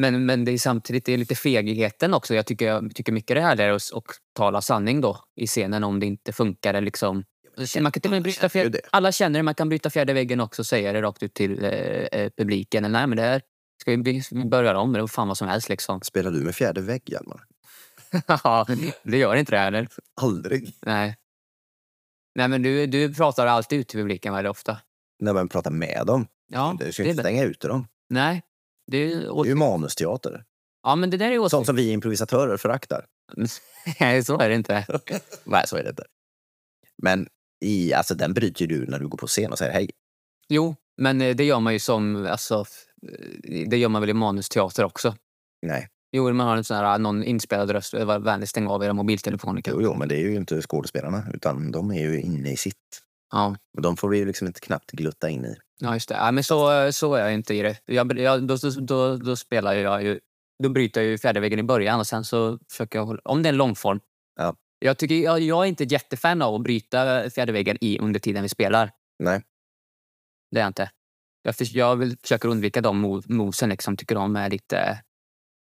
Men, men det är samtidigt det är lite fegigheten också. Jag tycker, jag tycker mycket det här är att, att tala sanning då i scenen om det inte funkar. eller Liksom. Man kan till och med bryta
känner
fjärde,
ju det.
alla känner det, man kan bryta fjärde väggen också och säga det rakt ut till eh, eh, publiken. Eller, Nej, men det här Ska vi by- vi börjar om med det? fan vad som helst liksom.
Spelar du med fjärde vägg, Hjalmar?
Ja, det gör inte det heller.
Aldrig.
Nej. Nej, men du, du pratar alltid ut till publiken väldigt ofta.
När man pratar med dem.
Ja,
du ska
det
ju
är
inte
bra.
stänga ute dem.
Nej. Det är,
Det är
ås-
ju manusteater.
ja, men det där är
Sånt
åsikt.
som vi improvisatörer föraktar.
Nej, så är det inte.
Nej, så är det inte. Men i, alltså, den bryter ju du när du går på scen och säger hej.
Jo, men eh, det gör man ju som... Alltså, f- eh, det gör man väl i manusteater också?
Nej,
Jo, man har en sån här, någon inspelad röst. eh, var Vänlig stäng av era mobiltelefoner.
jo, jo, men det är ju inte skådespelarna, utan de är ju inne i sitt.
Ja.
Och de får vi ju liksom inte knappt glutta in i.
ja, just det. Ja, men så, så är jag inte i det. Jag, jag, då, då- då, då spelar jag ju... Då bryter jag ju fjärde väggen i början och sen så försöker jag hålla... Om det är en långform.
Ja.
Jag, tycker, jag, jag är inte ett jättefan av att bryta fjärde väggen i under tiden vi spelar.
Nej.
Det är jag inte. Jag, förs- jag vill, försöker undvika de mo- mosen, liksom, tycker de är lite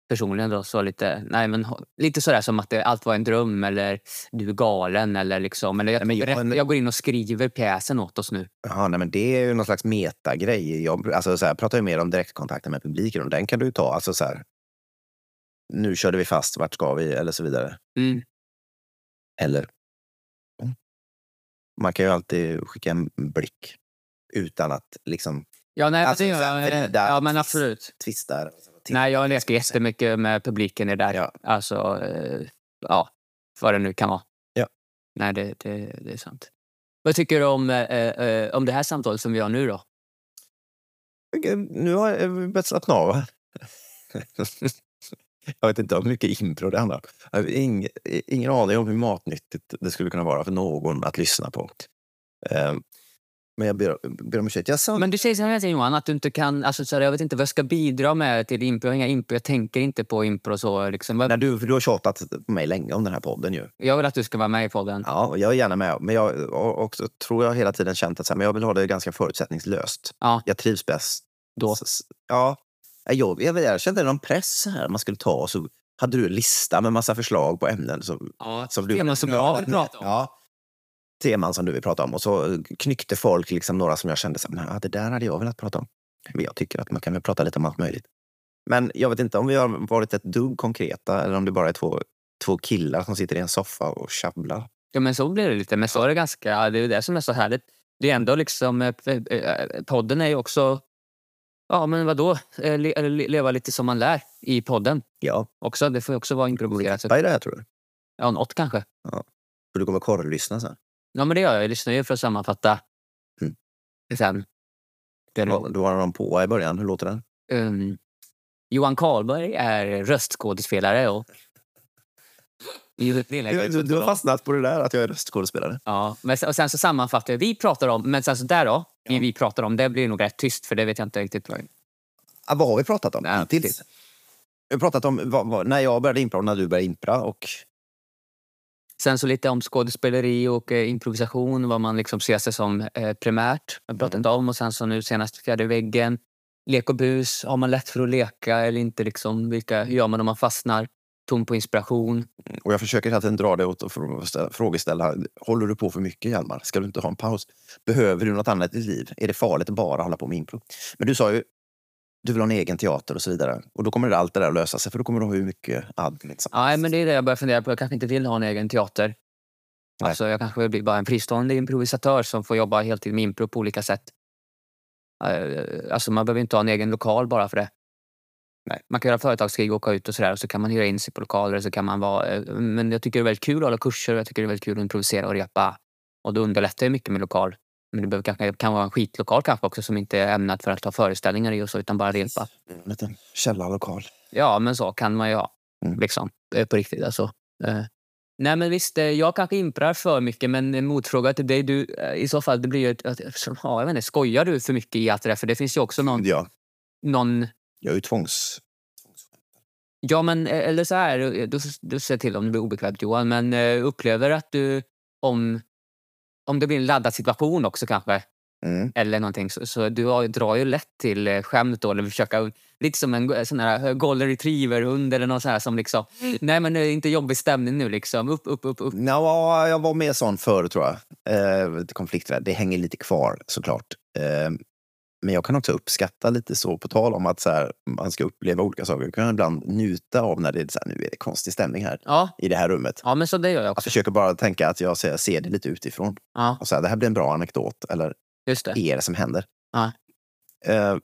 personligen då, så lite, nej men ho- lite sådär som att det, allt var en dröm eller du är galen eller liksom. Eller jag,
Nej, men jag-
berätt- jag går in och skriver pjäsen åt oss nu.
Jaha, nej, men det är ju någon slags metagrej. Jag, alltså, så här, pratar ju mer om direktkontakten med publiken och den kan du ju ta. Alltså, så här, nu körde vi fast, vart ska vi? Eller så vidare.
Mm.
Eller? mm. Man kan ju alltid skicka en blick utan att liksom
Ja, nej,
Alltså,
det gör jag.
Frida,
Eh, ja, men
Fis-
absolut.
tvista.
Nej, jag leker jättemycket med publiken i det där.
Ja.
Alltså, eh, ja, vad det nu kan vara.
Ja.
Nej, det, det, det är sant. Vad tycker du om, eh, eh, om det här samtalet som vi har nu då?
Okej, Nu har jag eh, vi börjat slappna av. här. jag vet inte hur mycket impro det handlar om. Jag har ing- eh, ingen aning om hur matnyttigt det skulle kunna vara för någon att lyssna på. Ehm, Men jag ber, ber om ursäkt. Jag sa,
Men du säger så här hela tiden, Johan, att du inte kan... Alltså, så här, jag vet inte vad jag ska bidra med till impro. Jag har inga impro. Jag tänker inte på impro och så. Liksom. Vad-
när du, för du har tjatat på mig länge om den här podden ju.
Jag vill att du ska vara med i podden. Ja.
Ja, och jag är gärna med. Men jag har också, tror jag hela tiden känt att så här, men jag vill ha det ganska förutsättningslöst.
Ja.
Jag trivs bäst.
Då.
S- s- Ja. Nej, Jag, jag, jag kände någon press här man skulle ta och så hade du en lista med massa förslag på ämnen som, som du...
Teman som jag vill prata om.
Ja. Teman som du vill prata om. Och så knyckte folk liksom några som jag kände så här, "Nej, det där hade jag velat prata om. Men jag tycker att man kan väl prata lite om allt möjligt. Men jag vet inte om vi har varit ett dugg konkreta eller om det bara är två, två killar som sitter i en soffa och tjabblar.
Ja, men så blir det lite. Men så är det ganska... Det är ju det som är så härligt. Det är ändå liksom... eh, eh, eh, Podden är ju också... Ja, men vadå? Eh, le- eller le- Leva lite som man lär i podden
Ja,
också. Det får ju också vara improviserat. Så-
vad är det här tror du?
Ja, något kanske.
För du kommer korrlyssna sen.
Ja, men det gör jag. Jag lyssnar ju för att sammanfatta.
Mm.
Sen. Det är
Du har någon på i början, hur låter den?
Um, Johan Karlberg är röstskådespelare och... Jo, det är
Du, du har fastnat på det där att jag är röstskådespelare.
Ja, men sen, och sen så sammanfattar jag. Vi pratar om, men sen så där då. Vi,
Ja.
vi pratar om, det blir nog rätt tyst för det vet jag inte riktigt. vad-
Ah, vad har vi pratat om
Nej,
hittills? Vi har pratat om vad, vad, när jag började impra och när du började impra. Och,
Sen så lite om skådespeleri och eh, improvisation, vad man liksom ser sig som eh, primärt. Jag pratade inte om och sen så nu senast fjärde väggen. Lek och bus, har man lätt för att leka eller inte? Liksom, vilka, hur gör man om man fastnar? Tom på inspiration.
och jag försöker hela tiden dra det åt och frå- frågeställa. Håller du på för mycket Hjalmar? Ska du inte ha en paus? Behöver du något annat i ditt liv? Är det farligt att bara hålla på med impro? Men du sa ju du vill ha en egen teater och så vidare. Och då kommer det allt det där att lösa sig för då kommer du ha hur mycket admin som
Nej, men det är det jag börjar fundera på. Jag kanske inte vill ha en egen teater.
Nej.
Alltså, jag kanske vill bli bara en fristående improvisatör som får jobba heltid med impro på olika sätt. Eh, Alltså, man behöver inte ha en egen lokal bara för det.
Nej.
Man kan göra företagskrig och åka ut och sådär och så kan man hyra in sig på lokaler. och Så kan man vara, eh, men jag tycker det är väldigt kul att hålla kurser och jag tycker det är väldigt kul att improvisera och repa. Och då underlättar det mycket med lokal. Men det behöver, kanske- kan vara en skitlokal kanske också som inte är ämnad för att ta föreställningar i och så utan bara repa.
En liten källarlokal.
Ja, men så kan man ju ha.
Mm.
Liksom, eh, på riktigt alltså. Eh, Nej, men visst, eh, jag kanske imprar för mycket, men en motfråga till dig. Du, eh, I så fall, det blir ju... Ett, att, som- ja, jag vet inte, skojar du för mycket i allt det där? För det finns ju också någon...
Ja,
någon
jag är ju tvångs...
ja, men eh, eller så här, eh, du, du säger till om det blir obekvämt Johan, men eh, upplever att du... Om, om det blir en laddad situation också kanske,
Mm.
eller någonting, så, så du har, drar ju lätt till eh, skämt då, eller försöka, lite som en go- sån här eh, golden retriever-hund eller någon sån här som liksom,
Mm.
nej men det är inte jobbig stämning nu liksom, upp, upp, upp, upp.
Nja, jag var mer sån förr, tror jag. Eh, lite konflikträdd. Det hänger lite kvar, såklart. Eh, Men jag kan också uppskatta lite så, på tal om att så här, man ska uppleva olika saker. Jag kan ibland njuta av när det är så här, nu är det konstig stämning här
Ja,
i det här rummet.
ja men så det gör jag
Jag
också.
försöker bara tänka att jag ser, ser det lite utifrån.
Ja,
Och så här, det här blir en bra anekdot, eller
just det.
är det som händer?
Ja.
Eh,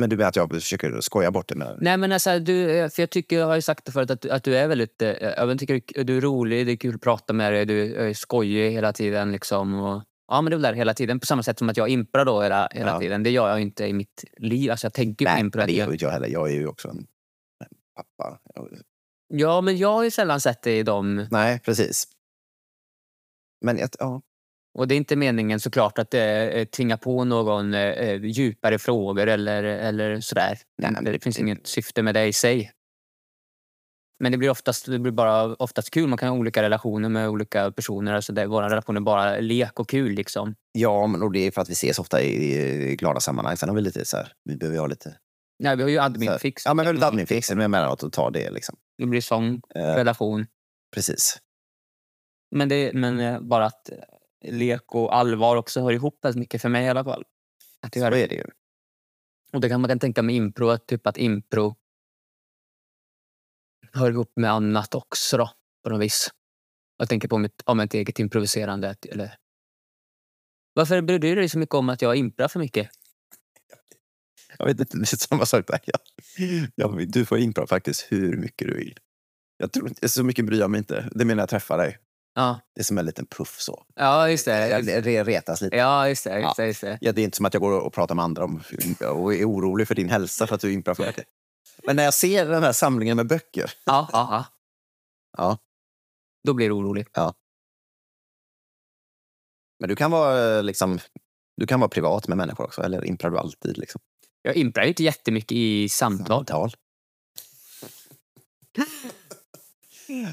men du menar att jag försöker skoja bort det? Med,
Nej, men alltså, du, eh, för jag tycker, jag har ju sagt det förut, att, du- att du är väldigt... eh, Jag vet, tycker du är rolig, det är kul att prata med dig, du är skojig hela tiden. Liksom, och, ja, men det är väl där hela tiden. På samma sätt som att jag imprar då hela, hela
Ja.
tiden. Det gör jag ju inte i mitt liv. Alltså, jag tänker ju på impro. hela
det gör
tiden.
ju inte jag heller. Jag är ju också en, en pappa. Jag-
Ja, men jag har ju sällan sett det i dem.
Nej, precis. Men jag, ja,
Och det är inte meningen såklart att eh, tvinga på någon eh, eh, djupare frågor eller, eller sådär.
Nej, men
det,
det-
finns
det-
inget syfte med det i sig. Men det blir oftast, det blir bara oftast kul. Man kan ha olika relationer med olika personer. Alltså det, våra relation är bara lek och kul liksom.
ja, men och det är för att vi ses ofta i, i glada sammanhang. Sen har vi lite så här, vi behöver ju ha lite...
Nej, vi har ju
så
adminfix.
här, ja, men vi har lite adminfixen emellanåt och ta det liksom.
Det blir sån
Eh,
relation.
precis.
Men, det, men eh, bara att eh, lek och allvar också hör ihop väldigt mycket för mig i alla fall. Att det
Så
gör
är det ju.
Och det kan man kan tänka med impro, att typ att impro hör ihop med annat också då, på något vis. Jag tänker på mitt, om mitt eget improviserande. att- Eller... Varför bryr du dig så mycket om att jag imprar för mycket?
Jag vet inte, det är samma sak där. Jag, jag, du får improv faktiskt hur mycket du vill. Jag tror inte, så mycket bryr jag mig inte. Det menar jag träffar dig.
Ja,
Det är som en liten puff så.
ja just
Jag
det.
re- retas lite.
Ja, just det.
Ja.
Just det, just det.
Ja, det är inte som att jag går och pratar med andra om och är orolig för din hälsa för att du improvar för mycket. Men när jag ser den här samlingen med böcker.
Ja, ja, ja.
Ja.
Då blir du orolig.
Men du kan vara eh, liksom, du kan vara privat med människor också, eller improvar du alltid? Liksom.
Jag imprar ju inte jättemycket i samtal.
Tal.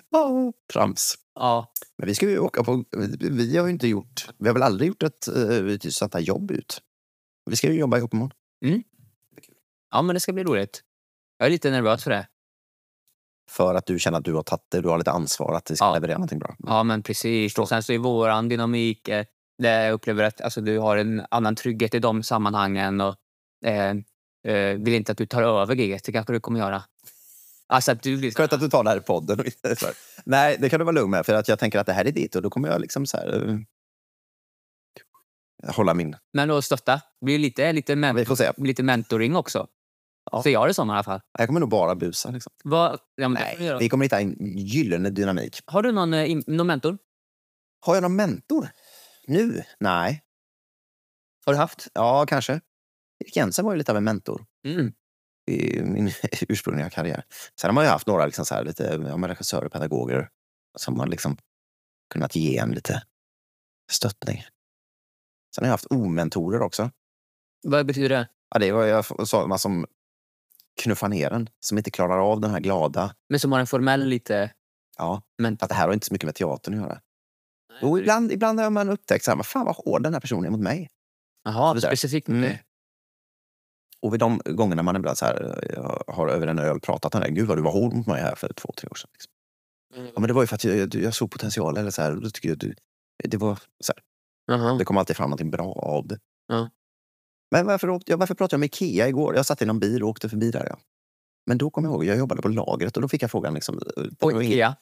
Ja, Trams.
Ja.
Men vi ska ju åka på... Vi har ju inte gjort... Vi har väl aldrig gjort ett uh, sånt här jobb ut? Vi ska ju jobba ihop imorgon.
ja, men det ska bli roligt. Jag är lite nervös för det.
För att du känner att du har tagit det, du har lite ansvar att det ska
Ja.
leverera någonting bra.
Ja, men precis. Och sen så i våran dynamik, eh, där jag upplever att alltså, du har en annan trygghet i de sammanhangen och eh, eh, vill inte att du tar över giget. Det kanske du kommer göra. Alltså att du blir...
Skönt att du tar det här i podden. och inte så här. Nej, det kan du vara lugn med. För att jag tänker att det här är ditt och då kommer jag liksom så här... eh, hålla min.
Men då stötta. Det blir lite, lite, men,
Vi får se.
lite mentoring också.
Ja.
Ser jag det som i alla fall.
Jag kommer nog bara busa. Liksom.
Vad, ja, men det får du
Nej,
göra.
vi kommer hitta en gyllene dynamik.
Har du någon, eh, in- någon mentor?
Har jag någon mentor? Nu? Nej.
Har du haft?
Ja, kanske. Erik Jensen var ju lite av en mentor.
Mm.
i min ursprungliga karriär. Sen har man ju haft några liksom så här, lite, ja, men regissörer och pedagoger som har liksom kunnat ge en lite stöttning. Sen har jag haft omentorer också.
Vad betyder det?
Ja, det var jag sådana som knuffar ner en, som inte klarar av den här glada.
Men som har en
Mm.
formell lite...
Ja,
Men-
för att det här har inte så mycket med teatern att göra. Och ibland, ibland har man upptäckt så här, "Men fan vad hård den här personen är mot mig.
Jaha,
Sådär.
specifikt.
Mm.
Mm.
Och vid de gångerna man ibland så här, eh, har över en öl pratat om det, gud vad du var hård mot mig här för två, tre år sedan. Liksom. Ja, men det var ju för att jag, jag, jag såg potential. Eller så här, och då tycker jag, att du- det, var, så här,
Jaha.
det kom alltid fram någonting bra av det.
Ja.
Men varför, åkte, jag- varför pratade jag med Ikea igår? Jag satt i någon bil och åkte förbi där. Ja. Men då kom jag ihåg, jag jobbade på lagret och då fick jag frågan. Liksom,
Och Ikea.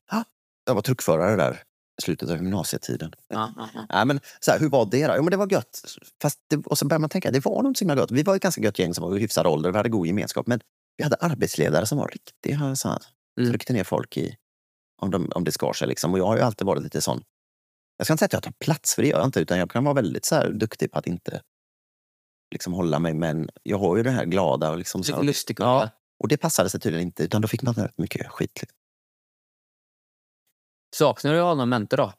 jag var truckförare där i slutet av gymnasietiden.
Ja, ja, ja.
Nej, men, så här, hur var det då? Jo, men det var gött. Fast det, och så började man tänka, det var nog inte så himla gött. Vi var ett ganska gött gäng som var i hyfsad ålder, vi hade god gemenskap. Men vi hade arbetsledare som var riktiga, så här,
Mm.
tryckte ner folk i, om, de, om det skar sig. Liksom. Och jag har ju alltid varit lite sån. Jag ska inte säga att jag tar plats, för det gör jag inte. Utan jag kan vara väldigt så här, duktig på att inte liksom, hålla mig. Men jag har ju det här glada. Och, liksom, så
Lite
här,
lustig ja.
och det passade sig tydligen inte, utan då fick man rätt mycket skit. Liksom.
Saknar du att ha någon mentor då?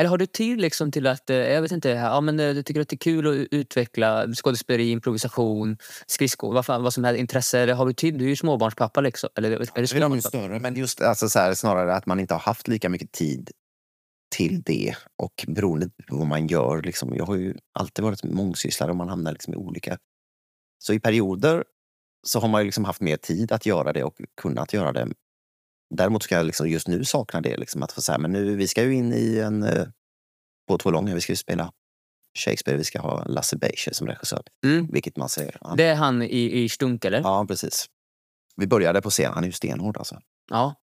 Eller har du tid liksom till att, eh, jag vet inte, ja, men eh, du tycker att det är kul att u- utveckla skådespeleri, improvisation, skridskor, vad, fan, vad som helst, intresse? Har du tid? Du är ju småbarnspappa liksom. Eller, är det
Det är nog
småbarnspappa?
större, men just alltså, så här, snarare att man inte har haft lika mycket tid till det. Och beroende på vad man gör. Liksom, jag har ju alltid varit mångsysslare och man hamnar liksom i olika... Så i perioder så har man ju liksom haft mer tid att göra det och kunnat göra det. Däremot ska jag liksom just nu sakna det. Liksom, att få så här, men nu, vi ska ju in i en... eh, På Två långa, vi ska ju spela Shakespeare, vi ska ha Lasse Beischer som regissör.
Mm.
Vilket man ser. Han,
Det är han i, i Stunk, eller?
Ja, precis. Vi började på scen. Han är ju stenhård alltså.
Ja.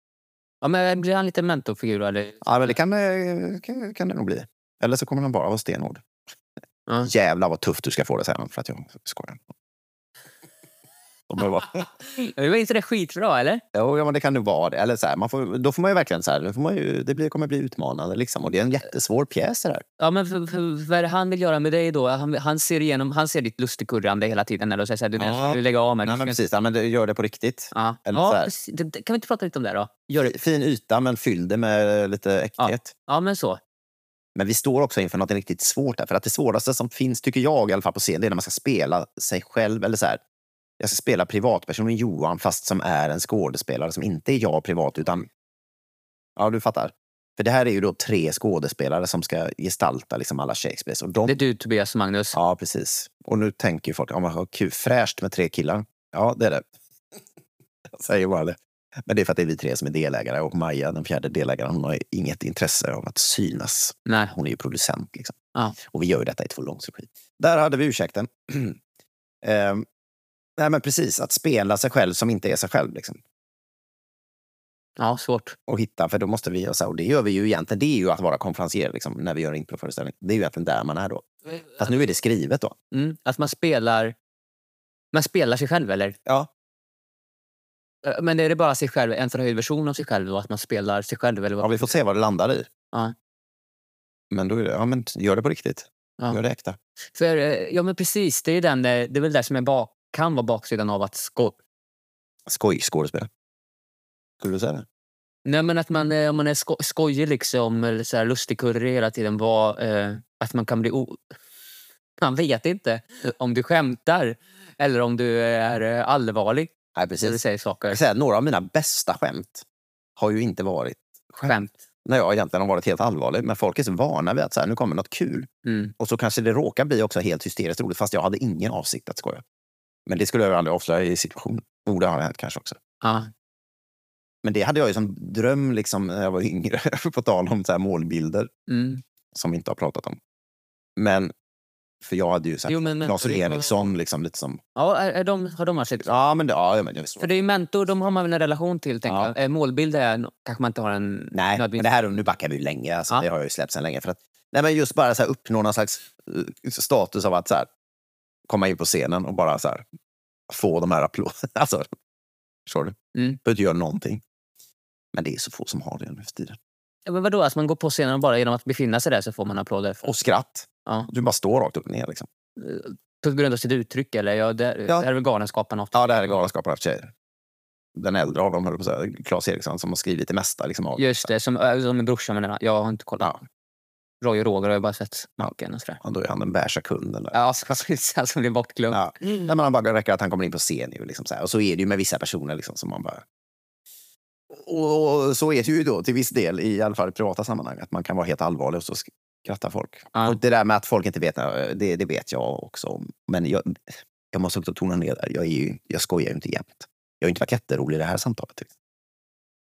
Ja, men eh, blir han lite mentorfigur? Eller?
Ja, men det kan, eh, kan, kan det nog bli. Eller så kommer han bara vara stenhård.
Ja.
Jävlar vad tufft du ska få det, säger han. För att jag skojar. De bara,
Det var inte det skitbra, eller?
Jo, ja, men det kan nog vara det. Eller så här, man får, då får man ju verkligen så här, då får man ju, det blir, kommer bli utmanande. Liksom. Och det är en jättesvår pjäs det där.
Ja, men för, för, vad är det han vill göra med dig då? Han, han, ser, igenom, han ser ditt lustigkurrande hela tiden. Eller, och säger så här, du,
Ja.
ja. du lägger av med
Nej, men precis. Ja, men det, gör det på riktigt.
Ja.
Eller så
Ja,
här.
precis. Det- det- kan vi inte prata lite om det då?
Gör det. Fin yta, men fyll det med lite äkthet.
Ja, men så.
Men vi står också inför något riktigt svårt där. För att det svåraste som finns, tycker jag, i alla fall på scen, det är när man ska spela sig själv. Eller så här, jag ska spela privatpersonen Johan, fast som är en skådespelare som inte är jag privat, utan... Ja, du fattar. För det här är ju då tre skådespelare som ska gestalta liksom alla Shakespeares. Och de
Det är du, Tobias och Magnus.
Ja, precis. Och nu tänker ju folk, ja, men vad kul, fräscht med tre killar. Ja, det är det. Jag säger bara det. Men det är för att det är vi tre som är delägare och Maja, den fjärde delägaren, hon har ju inget intresse av att synas.
Nej.
Hon är ju producent liksom.
Ja.
Och vi gör ju detta i två långs regi. Där hade vi ursäkten. Ehm, nej, men precis, att spela sig själv som inte är sig själv. Liksom
Ja, svårt.
och hitta, för då måste vi göra så här, och det gör vi ju egentligen, det är ju att vara konferencier liksom, när vi gör en improföreställning. Det är ju egentligen där man är då. Fast nu är det skrivet då.
Mm, att man spelar... Man spelar sig själv, eller?
Ja,
Eh, Men är det bara sig själv, en förhöjd version av sig själv då? Att man spelar sig själv? Eller
Ja,
vad?
vi får se vad det landar i.
Ja.
Men då är det, ja men gör det på riktigt.
Ja.
Gör det äkta.
För, eh, ja, men precis. Det är, ju den, eh, det är väl det som är bak, kan vara baksidan av att skå...
Skoj, skådespel. Skulle du säga det?
Nej, men att
Mm.
man, eh, om man är sko- skojig liksom, eller så här lustigkurrig hela tiden, var, eh, att man kan bli... O- man vet inte om du skämtar eller om du är eh, allvarlig när
Nej,
du
precis.
säger
Jag
saker.
kan säga, att några av mina bästa skämt har ju inte varit
Skämt.
när jag egentligen har varit helt allvarlig. Men folk är så vana vid att så här, nu kommer något kul.
Mm.
Och så kanske det råkar bli också helt hysteriskt roligt fast jag hade ingen avsikt att skoja. Men det skulle jag ju aldrig avslöja i situationen. Borde ha hänt kanske också.
Ja.
Men det hade jag ju som dröm liksom, när jag var yngre. på tal om så här, målbilder.
Mm.
som vi inte har pratat om. Men, för jag hade ju sagt
Jo, men
Claes
mentor-
Eriksson, liksom lite som...
Ja, är, är de, har de varit
Ja, men det, ja, men det är så.
För det är ju mentor, de har man väl en relation till? tänker
Ja.
jag. Eh, Målbild är, no- kanske man inte har en...
Nej, men
nödvändigtvis-
det här, nu backar vi ju länge. Alltså,
Ja.
Det har jag ju släppt sedan länge. För att, nej, men just bara så här, uppnå någon slags eh, status av att så här, komma in på scenen och bara så här, få de här applåderna. Alltså, förstår du?
Mm.
Behöver inte göra någonting. Men det är så få som har det nu för tiden.
Ja, Men vadå, alltså man går på scenen och bara genom att befinna sig där så får man applåder? För,
Och skratt.
Ja.
Du bara står rakt upp och ner. Liksom.
på grund av sitt uttryck eller? Ja, det,
Ja.
det är väl Galenskaparna ofta?
Ja, det här är Galenskaparna för tjejer. Den äldre av dem, höll jag på att säga, Claes Eriksson, som har skrivit det mesta. Liksom, av
Just det, som, äh, som min brorsa menar jag. Jag har inte kollat.
Ja.
Roy och Roger har jag bara sett naken och sådär.
Ja, då är han den bärsa kunden. Där.
Ja, alltså, han som blir bortglömd. Mm.
Ja. Nej, men han bara räcker att han kommer in på scen. Ju, liksom, så här. Och så är det ju med vissa personer. Liksom, som man bara... och, och så är det ju då till viss del, i alla fall i privata sammanhang, att man kan vara helt allvarlig och så skrattar folk.
Ja.
Och det där med att folk inte vet, eh, det, det vet jag också om. Men jag, jag måste också tona ner där. Jag, är ju, jag skojar ju inte jämt. Jag har ju inte varit jätterolig i det här samtalet. tycker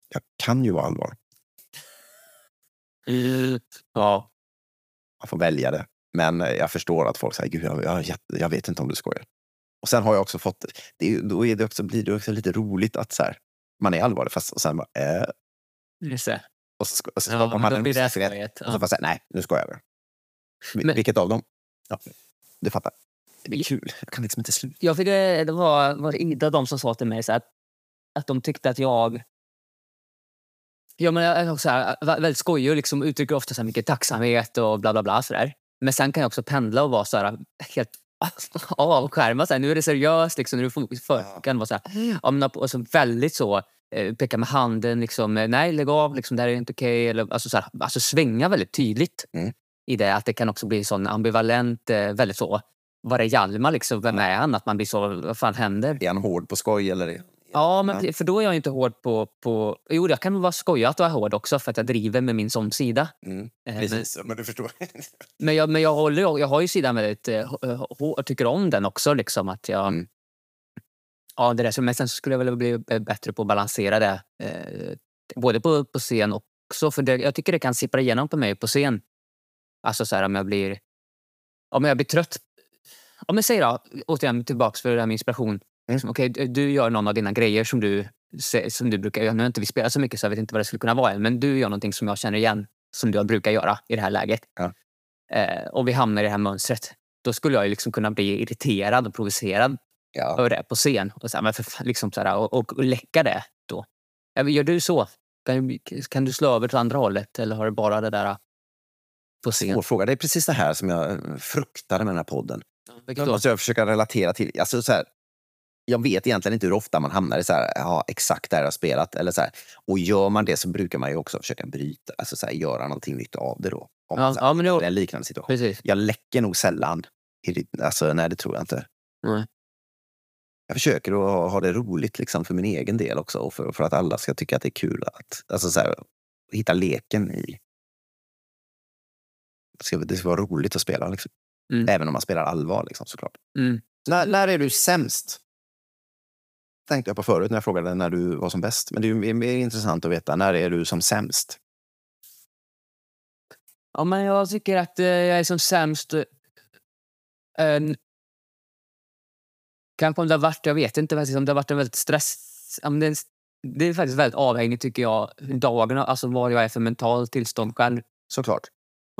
Jag Jag kan ju vara allvarlig.
Ja.
Man får välja det. Men eh, jag förstår att folk säger, gud, jag, jag, är jätte- jag vet inte om du skojar. Och sen har jag också fått, det är, ju- då är det också, blir det också lite roligt att så här, man är allvarlig fast och sen bara, äh,
Just det.
och så, sko- och så
Ja,
skapar man
då
en
blir det
osäkerhet.
skojigt.
Och
Ja.
så får jag säga, nej, nu skojar jag. Vi-
Men-
Vilket av dem? Ja, du fattar. Det är kul. Jag kan liksom inte sluta.
Jag fick, eh, det var, var det Ida de som sa till mig så att, att de tyckte att jag... Ja, men jag är också så här, vä- väldigt skojig och liksom uttrycker ofta så här mycket tacksamhet och bla bla bla. Så där. Men sen kan jag också pendla och vara så här, helt avskärmad. Så här, nu är det seriöst. Liksom, nu är det fokus. Förr
Ja.
kan det vara så här, ja, men, och så väldigt så, eh, peka med handen. Liksom, eh, nej, lägg av. Liksom, det här är inte okej. eller Alltså, så här, alltså svänga väldigt tydligt
Mm.
i det. Att det kan också bli sån ambivalent, eh, väldigt så vad är Hjalmar liksom? Vem är han? Att man blir så, vad fan händer?
Är han hård på skoj eller? är- Mm,
Ja, men
Ja.
pre- för då är jag inte hård på... på jo, jag kan vara skojat och vara hård också för att jag driver med min sån sida.
Mm,
Eh, men-
precis, men du förstår.
Men jag, men jag, håller, ju- jag har ju sidan väldigt eh, hård och tycker om den också. Liksom, att jag,
Mm.
ja, det där, så- men sen så skulle jag väl bli b- bättre på att balansera det. Eh, både på, på scen och också. För det, jag tycker det kan sippra igenom på mig på scen. Alltså så här om jag blir... om jag blir trött. Om jag säger då, återigen tillbaks för det här med inspiration.
Mm.
Som, okej, du- du gör någon av dina grejer som du, se- som du brukar göra. Nu har inte vi spelat så mycket så jag vet inte vad det skulle kunna vara än. Men du gör någonting som jag känner igen som du brukar göra i det här läget.
Ja.
Eh, och vi hamnar i det här mönstret. Då skulle jag ju liksom kunna bli irriterad och provocerad
Ja.
över det på scen. Och, så här, men för, fan, liksom så här, och, och, och läcka det då. Ja, men Gör du så? Kan, kan du slå över till andra hållet eller har du bara det där på scen?
Svår fråga. Det är precis det här som jag eh, fruktade med den här podden.
Vilket
Nu
då?
måste Alltså, jag försöka relatera till. Alltså, så här, jag vet egentligen inte hur ofta man hamnar i så här, ja, exakt där jag har spelat. Eller så här. Och gör man det så brukar man ju också försöka bryta, alltså så här, göra någonting nytt av det då. Om man
Ja,
så här,
ja, men
är i
det,
en liknande situation.
precis.
Jag läcker nog sällan. i det- Alltså, nej, det tror jag inte.
Nej.
Jag försöker att ha, ha det roligt liksom, för min egen del också och för, för att alla ska tycka att det är kul att alltså, så här, hitta leken i... Det ska, det ska vara roligt att spela, liksom.
Mm.
även om man spelar allvar liksom, såklart.
Mm.
När, när är du sämst? Tänkte jag på förut när jag frågade när du var som bäst. Men det är ju mer intressant att veta, när är du som sämst?
Ja, men jag tycker att eh, jag är som sämst. eh, en- Kanske om det har varit, jag vet inte faktiskt, om det har varit en väldigt stress... Om det, är en s- det är faktiskt väldigt avhängigt tycker jag, hur dagen, alltså vad jag är för mental tillstånd själv.
Såklart.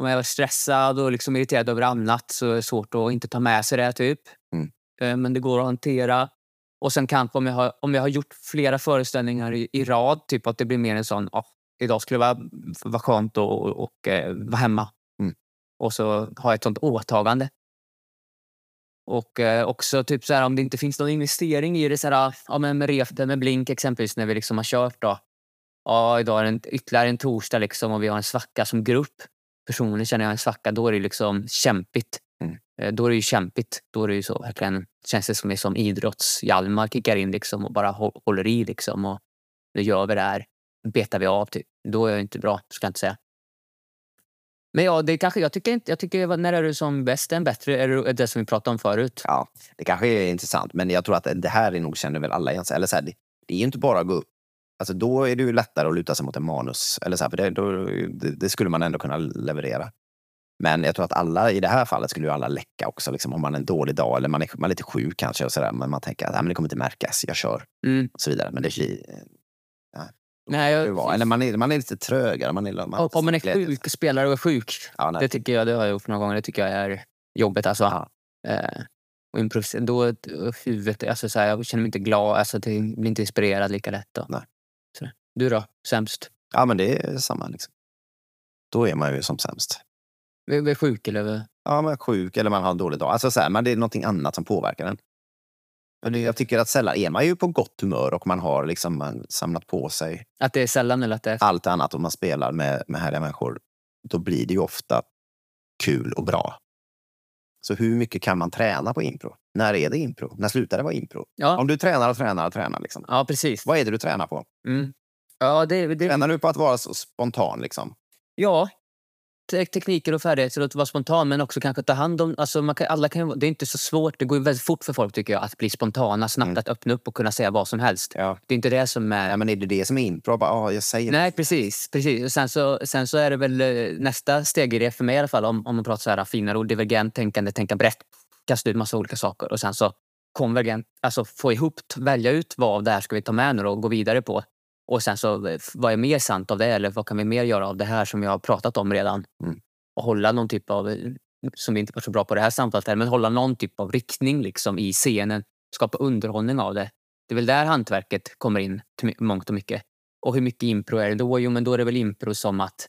Om jag var stressad och liksom irriterad över annat så är det svårt att inte ta med sig det. typ.
Mm.
Eh, Men det går att hantera. Och sen kanske om jag har, om jag har gjort flera föreställningar i, i rad, typ att det blir mer en sån, "Ah, idag skulle det vara, vara skönt och, och, och eh, vara hemma.
Mm.
Och så har jag ett sånt åtagande. Och eh, också typ så här, om det inte finns någon investering i det, så här, ah, ja, men med repen med Blink exempelvis, när vi liksom har kört då. Ja, idag är det en, ytterligare en torsdag liksom och vi har en svacka som grupp personligen känner jag en svacka, då är det liksom kämpigt.
Mm.
Eh, Då är det ju kämpigt. Då är det ju så verkligen, känns det som liksom idrotts-Hjalmar kickar in liksom och bara hå- håller i liksom. Och nu gör vi det här, betar vi av typ. Då är jag inte bra, ska jag inte säga. Men ja, det kanske, jag tycker inte, jag tycker, vad- när är du som bäst än bättre? Är det det som vi pratade om förut?
Ja, det kanske är intressant, men jag tror att det här är nog, känner väl alla igen sig. Eller så här, det, det är ju inte bara att gå upp. Alltså, då är det ju lättare att luta sig mot en manus. Eller så här, för det, då, det, det skulle man ändå kunna leverera. Men jag tror att alla i det här fallet skulle ju alla läcka också. Liksom, om man har en dålig dag eller man är, man är lite sjuk kanske. Och så där, men man tänker att "Nej, men det kommer inte märkas, jag kör.
Mm.
Och så vidare. Men det, eh,
Nej,
det var. Eller
jag,
man är, man är lite trögare. Man är, man
Ja, om man är
glädje-
sjuk och spelar och är sjuk,
Ja, nej.
det tycker jag, det har jag gjort några gånger, det tycker jag är jobbigt alltså.
Ja.
Eh, och improvisera. Då eh, huvudet, alltså så här, jag känner mig inte glad, alltså det blir inte inspirerad lika lätt. Och.
Nej.
Så. Du då? Sämst?
ja, men det är samma. Liksom. Då är man ju som sämst.
Vi vi är sjuk eller? vad?
Ja, man är sjuk eller man har en dålig dag. Alltså så här, men det är någonting annat som påverkar en. Men det, jag tycker att sällan är man ju på gott humör och man har liksom man, samlat på sig
Att det är sällan eller att det är...
allt annat och man spelar med, med härliga människor. Då blir det ju ofta kul och bra. Så hur mycket kan man träna på impro? När är det impro? När slutar det vara impro?
Ja.
Om du tränar och tränar och tränar, liksom,
Ja, precis.
vad är det du tränar på?
Mm. Ja, det, det,
Tränar du på att vara så spontan? Liksom?
ja. Te- tekniker och färdigheter att vara spontan men också kanske ta hand om... Alltså man kan, alla kan, ju vara- det är inte så svårt, det går ju väldigt fort för folk tycker jag att bli spontana snabbt,
Mm.
att öppna upp och kunna säga vad som helst.
Ja.
Det är inte det som är...
Nej, men är det det som är impro? Bara, ah, jag säger
Nej, precis. precis. Och sen, så, sen så är det väl eh, nästa steg i det, för mig i alla fall, om, om man pratar så här finare ord, divergent tänkande, tänka brett, kasta ut massa olika saker och sen så konvergent, alltså få ihop, t- välja ut vad av det här ska vi ta med nu då och gå vidare på. Och sen så, eh, f- vad är mer sant av det eller vad kan vi mer göra av det här som vi har pratat om redan?
Mm.
Och hålla någon typ av, eh, som vi inte var så bra på det här samtalet, här, men hålla någon typ av riktning liksom i scenen, skapa underhållning av det. Det är väl där hantverket kommer in till my- mångt och mycket. Och hur mycket impro är det då? Jo, men då är det väl impro som att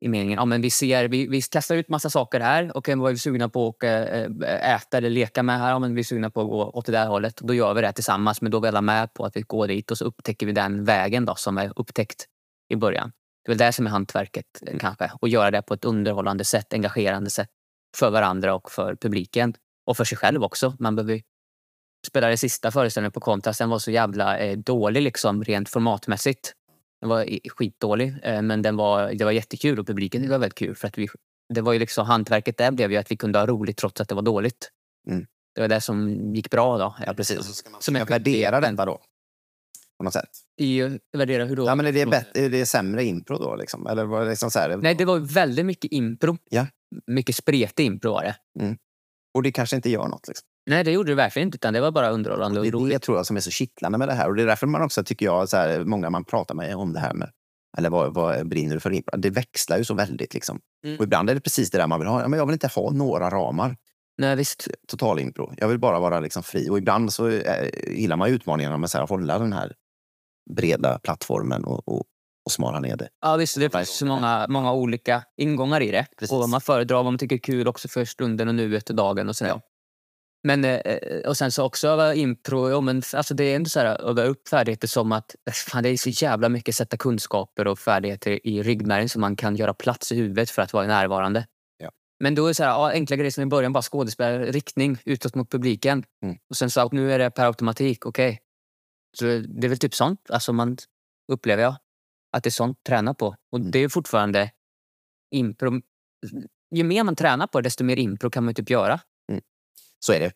i meningen, ja men vi ser, vi, vi kastar ut massa saker här. Okej, vad är vi sugna på att eh, äta eller leka med här? Ja, men vi är sugna på att gå åt det där hållet. Då gör vi det tillsammans, men då är vi alla med på att vi går dit och så upptäcker vi den vägen då som är upptäckt i början. Det är väl det som är hantverket eh,
Mm.
kanske. Och göra det på ett underhållande sätt, engagerande sätt för varandra och för publiken. Och för sig själv också. Man behöver ju- spelade sista föreställningen på kontrast, den var så jävla eh, dålig liksom rent formatmässigt. Den var i- skitdålig, eh, men den var, det var jättekul och publiken tyckte det var väldigt kul. För att vi, det var ju liksom, hantverket där blev ju att vi kunde ha roligt trots att det var dåligt.
Mm.
Det var det som gick bra då.
Ja, precis. Och Så ska man
Som
som
jag-
jag värdera den då? På något sätt.
I, värdera hur då?
Ja, men är det, bättre, är det sämre impro då? Liksom? Eller var det liksom så här,
Nej, det var väldigt mycket impro.
Ja.
Mycket spretig impro var det.
Mm. Och det kanske inte gör något. Liksom.
Nej, det gjorde det verkligen inte. Utan det var bara underhållande och
Det är det
roligt.
tror jag som är så kittlande med det här. Och det är därför man också tycker jag, så här, många man pratar med om det här med, eller vad, vad brinner du för? impro? Det växlar ju så väldigt liksom.
Mm.
Och ibland är det precis det där man vill ha. Ja, men jag vill inte ha några ramar,
Nej, visst.
total impro. Jag vill bara vara liksom fri. Och ibland så eh, gillar man ju utmaningarna med så här, att hålla den här breda plattformen och, och, och smala ner det.
Ja, visst. Det finns så många, många olika ingångar i det.
Precis.
Och vad man föredrar, vad man tycker är kul också för stunden och nuet och dagen och sådär.
Ja.
Men, eh, eh, och sen så också öva impro. Ja, men, alltså det är inte så här öva upp färdigheter som att eh, fan, det är så jävla mycket sätta kunskaper och färdigheter i ryggmärgen som man kan göra plats i huvudet för att vara närvarande.
Ja.
Men då är det så här, ja, enkla grejer som i början, bara skådespel, riktning utåt mot publiken.
Mm.
Och sen så att nu är det per automatik, okej. Så det är väl typ sånt, alltså man upplever jag. Att det är sånt träna på. Och
Mm.
det är fortfarande impro. Ju mer man tränar på det, desto mer impro kan man ju typ göra.
Så är det.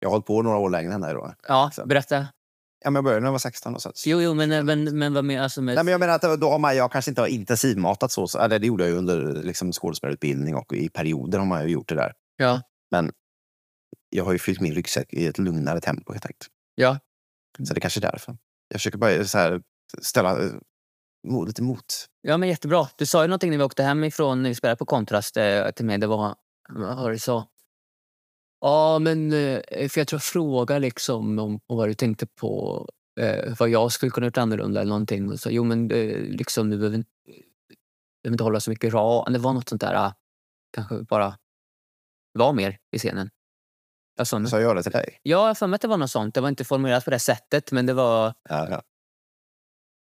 Jag har hållit på några år längre än dig då.
Ja,
Exakt.
berätta.
Ja, men jag började när jag var 16. Och så.
Jo, jo, men, men, men vad med, alltså med...
Nej, men jag menar att då har man, jag kanske inte har intensivmatat så. så eller det gjorde jag ju under liksom, skådespelarutbildning och i perioder har man ju gjort det där.
Ja.
Men jag har ju fyllt min ryggsäck i ett lugnare tempo helt enkelt.
Ja.
Så det kanske är därför. Jag försöker bara eh, så här, ställa eh, mo- lite mot.
Ja, men jättebra. Du sa ju någonting när vi åkte hemifrån, när vi spelade på Kontrast eh, till mig. Det var, vad var det du sa? Ja, men eh, för jag tror jag frågade liksom om, om vad du tänkte på. Eh, vad jag skulle kunna gjort annorlunda eller någonting. Och Så, jo, men eh, liksom du behöver, inte- behöver inte hålla så mycket ra. Det var något sånt där. ah, Kanske bara vara mer i scenen. Alltså,
Så jag gör det till dig.
ja, jag har för mig att det var något sånt. Det var inte formulerat på det sättet, men det var...
Ja, ja.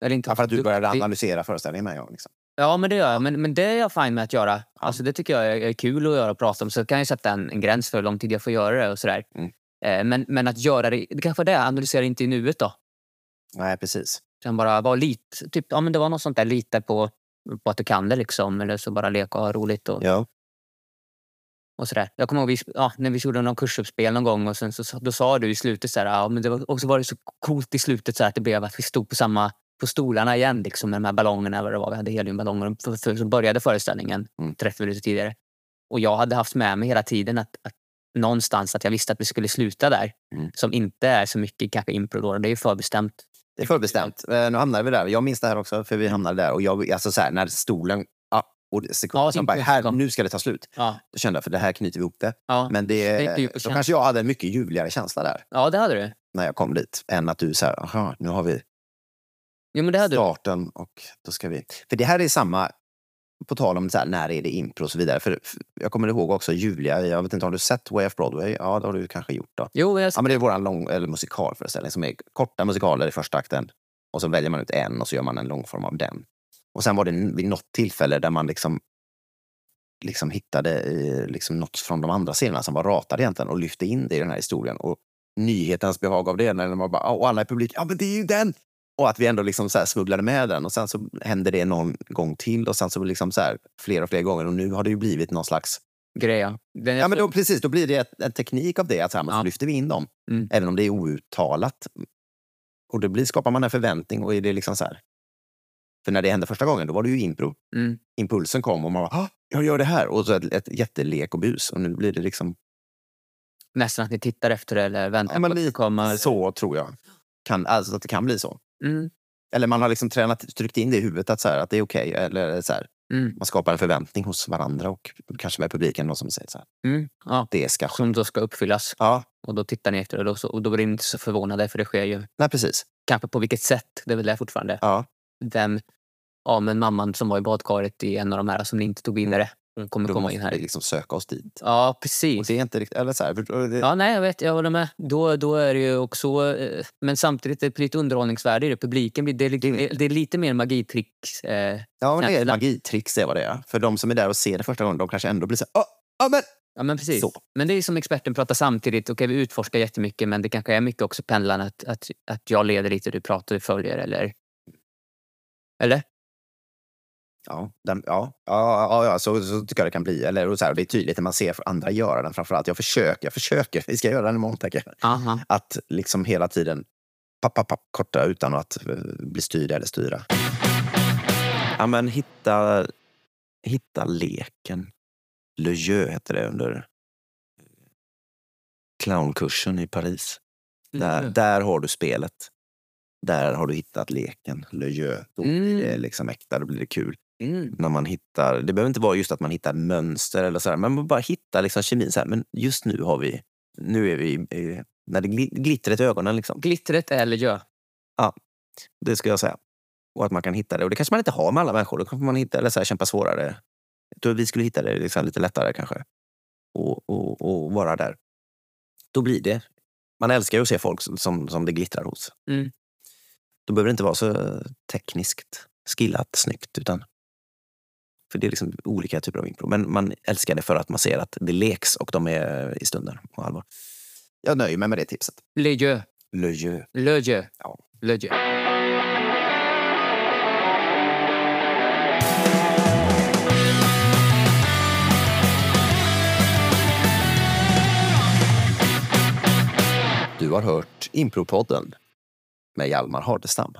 Eller inte
Ja, för att du började
duktig.
analysera föreställningen med en gång. Liksom.
Ja, men det gör jag. Men, men det är jag fine med att göra. Alltså, det tycker jag är, är kul att göra och prata om. Så kan jag sätta en, en gräns för hur lång tid jag får göra det och sådär.
Mm.
Eh, men, men att göra det, det kanske är det, analysera inte i nuet då.
Nej, precis.
Utan bara vara lite, typ, ja men det var något sånt där, lita på, på att du kan det liksom. Eller så bara leka och ha roligt och,
Ja.
och sådär. Jag kommer ihåg vi, ja, när vi gjorde någon kursuppspel någon gång och sen så, då sa du i slutet såhär, ja men det var, och så var det så coolt i slutet så att det blev att vi stod på samma på stolarna igen liksom med de här ballongerna. Vad det var. Vi hade heliumballonger för, för, som började föreställningen
Mm.
30 minuter tidigare. Och jag hade haft med mig hela tiden att, att någonstans att jag visste att vi skulle sluta där.
Mm.
Som inte är så mycket kanske impro då. Det är ju förbestämt.
Det är förbestämt. Eh, Nu hamnade vi där. Jag minns det här också, för vi hamnade där. Och jag, alltså så här, när stolen... Ja, och det- sekund,
Ja,
jag bara, här,
kom.
nu ska det ta slut.
Ja,
Då kände jag, för det här knyter vi ihop det.
ja.
Men
Det är
det,
inte djup
då
känsla.
kanske jag hade en mycket ljuvligare känsla där
ja det hade du.
när jag kom dit. Än att du så här, aha, nu har vi
Jo, men det hade du.
starten och då ska vi... För det här är samma, på tal om så här, när är det impro och så vidare. För för jag kommer ihåg också Julia, jag vet inte, har du sett Way of Broadway? Ja, det har du kanske gjort då.
Jo, jag,
Ja, men det är vår lång, eller musikalföreställning som är korta musikaler i första akten. Och så väljer man ut en och så gör man en långform av den. Och sen var det vid något tillfälle där man liksom, liksom hittade eh, liksom något från de andra scenerna som var ratade egentligen och lyfte in det i den här historien. Och nyhetens behag av det, när man bara, "Ah, och alla i publiken, ja men det är ju den! Och att vi ändå liksom så här smugglade med den och sen så hände det någon gång till och sen så liksom så här fler och fler gånger och nu har det ju blivit någon slags
grejen. Den,
Ja, men då, precis, då blir det ett, en teknik av det, att så, här, men
Ja.
så lyfter vi in dem.
Mm.
Även om det är outtalat. Och då blir, skapar man en förväntning och är det liksom så här. För när det hände första gången, då var det ju impro.
Mm.
Impulsen kom och man bara, "Ah, jag gör det här. Och så ett, ett jättelek och bus. Och nu blir det liksom,
Nästan att ni tittar efter det eller väntar
Ja, men
på att det
lite
kommer.
så tror jag. Kan, alltså att det kan bli så.
Mm.
Eller man har liksom tränat, tryckt in det i huvudet att, så här, att det är okej. Eller så här,
Mm.
man skapar en förväntning hos varandra och kanske med publiken. Någon som säger så här,
Mm. Ja.
det ska ske.
Som då ska uppfyllas.
Ja,
Och då tittar ni efter det och då, så, och då blir ni inte så förvånade för det sker ju.
nej precis.
Kanske på vilket sätt, det är väl det fortfarande.
Ja.
Vem, ja men mamman som var i badkaret i en av de här som ni inte tog vidare. Hon kommer
Då
komma
måste
in här.
vi liksom söka oss dit.
Ja
Och
precis.
det är inte riktigt... Eller så här, för- och det,
Ja nej jag vet, jag håller med. Då, då är det ju också, eh, men samtidigt är det lite underhållningsvärde i det. Publiken blir, det, är, lite-
Mm.
det är lite mer magitricks. Eh,
ja, men det är ett
känsla.
magitrix, det är vad det är. För de som är där och ser det första gången, de kanske ändå blir så här... "Åh, ja, men...
Ja, men precis.
Så.
Men det är som experten pratar samtidigt. Okej, vi utforskar jättemycket, men det kanske är mycket också pendlarna att, att, att jag leder lite, du pratar, du följer eller... Eller?
Ja, den, ja, ja, ja, ja så, så tycker jag det kan bli. Eller, och så här, och det är tydligt när man ser andra göra den framför allt. Jag försöker, jag försöker. Vi ska göra den imorgon, tänker jag.
Aha.
Att liksom hela tiden papp, papp, papp, korta utan att eh, bli styrd eller styra. Ja, men hitta, hitta leken. Le jeu heter det under eh, clownkursen i Paris. Där,
Mm.
där har du spelet. Där har du hittat leken, le jeu. Då blir det
Mm.
liksom äkta, då blir det kul.
Mm.
När man hittar, det behöver inte vara just att man hittar mönster eller sådär, men man bara hittar liksom kemin. Så här, men just nu har vi, nu är vi, eh, när det gli- glittret i ögonen liksom.
Glittret eller gö.
Det ska jag säga. Och att man kan hitta det. Och det kanske man inte har med alla människor. Då kanske man hittar eller så här, kämpa svårare. Jag tror att vi skulle hitta det liksom lite lättare kanske. Och, och, och vara där. Då blir det. Man älskar ju att se folk som- som, som det glittrar hos.
Mm.
Då behöver det inte vara så tekniskt skillat, snyggt. Utan för det är liksom olika typer av impro. Men man älskar det för att man ser att det leks och de är i stunden på allvar. Jag nöjer mig med det tipset.
Le jeu.
Le jeu.
Le jeu.
Ja.
Le jeu.
Du har hört Impropodden med Hjalmar Hardestam.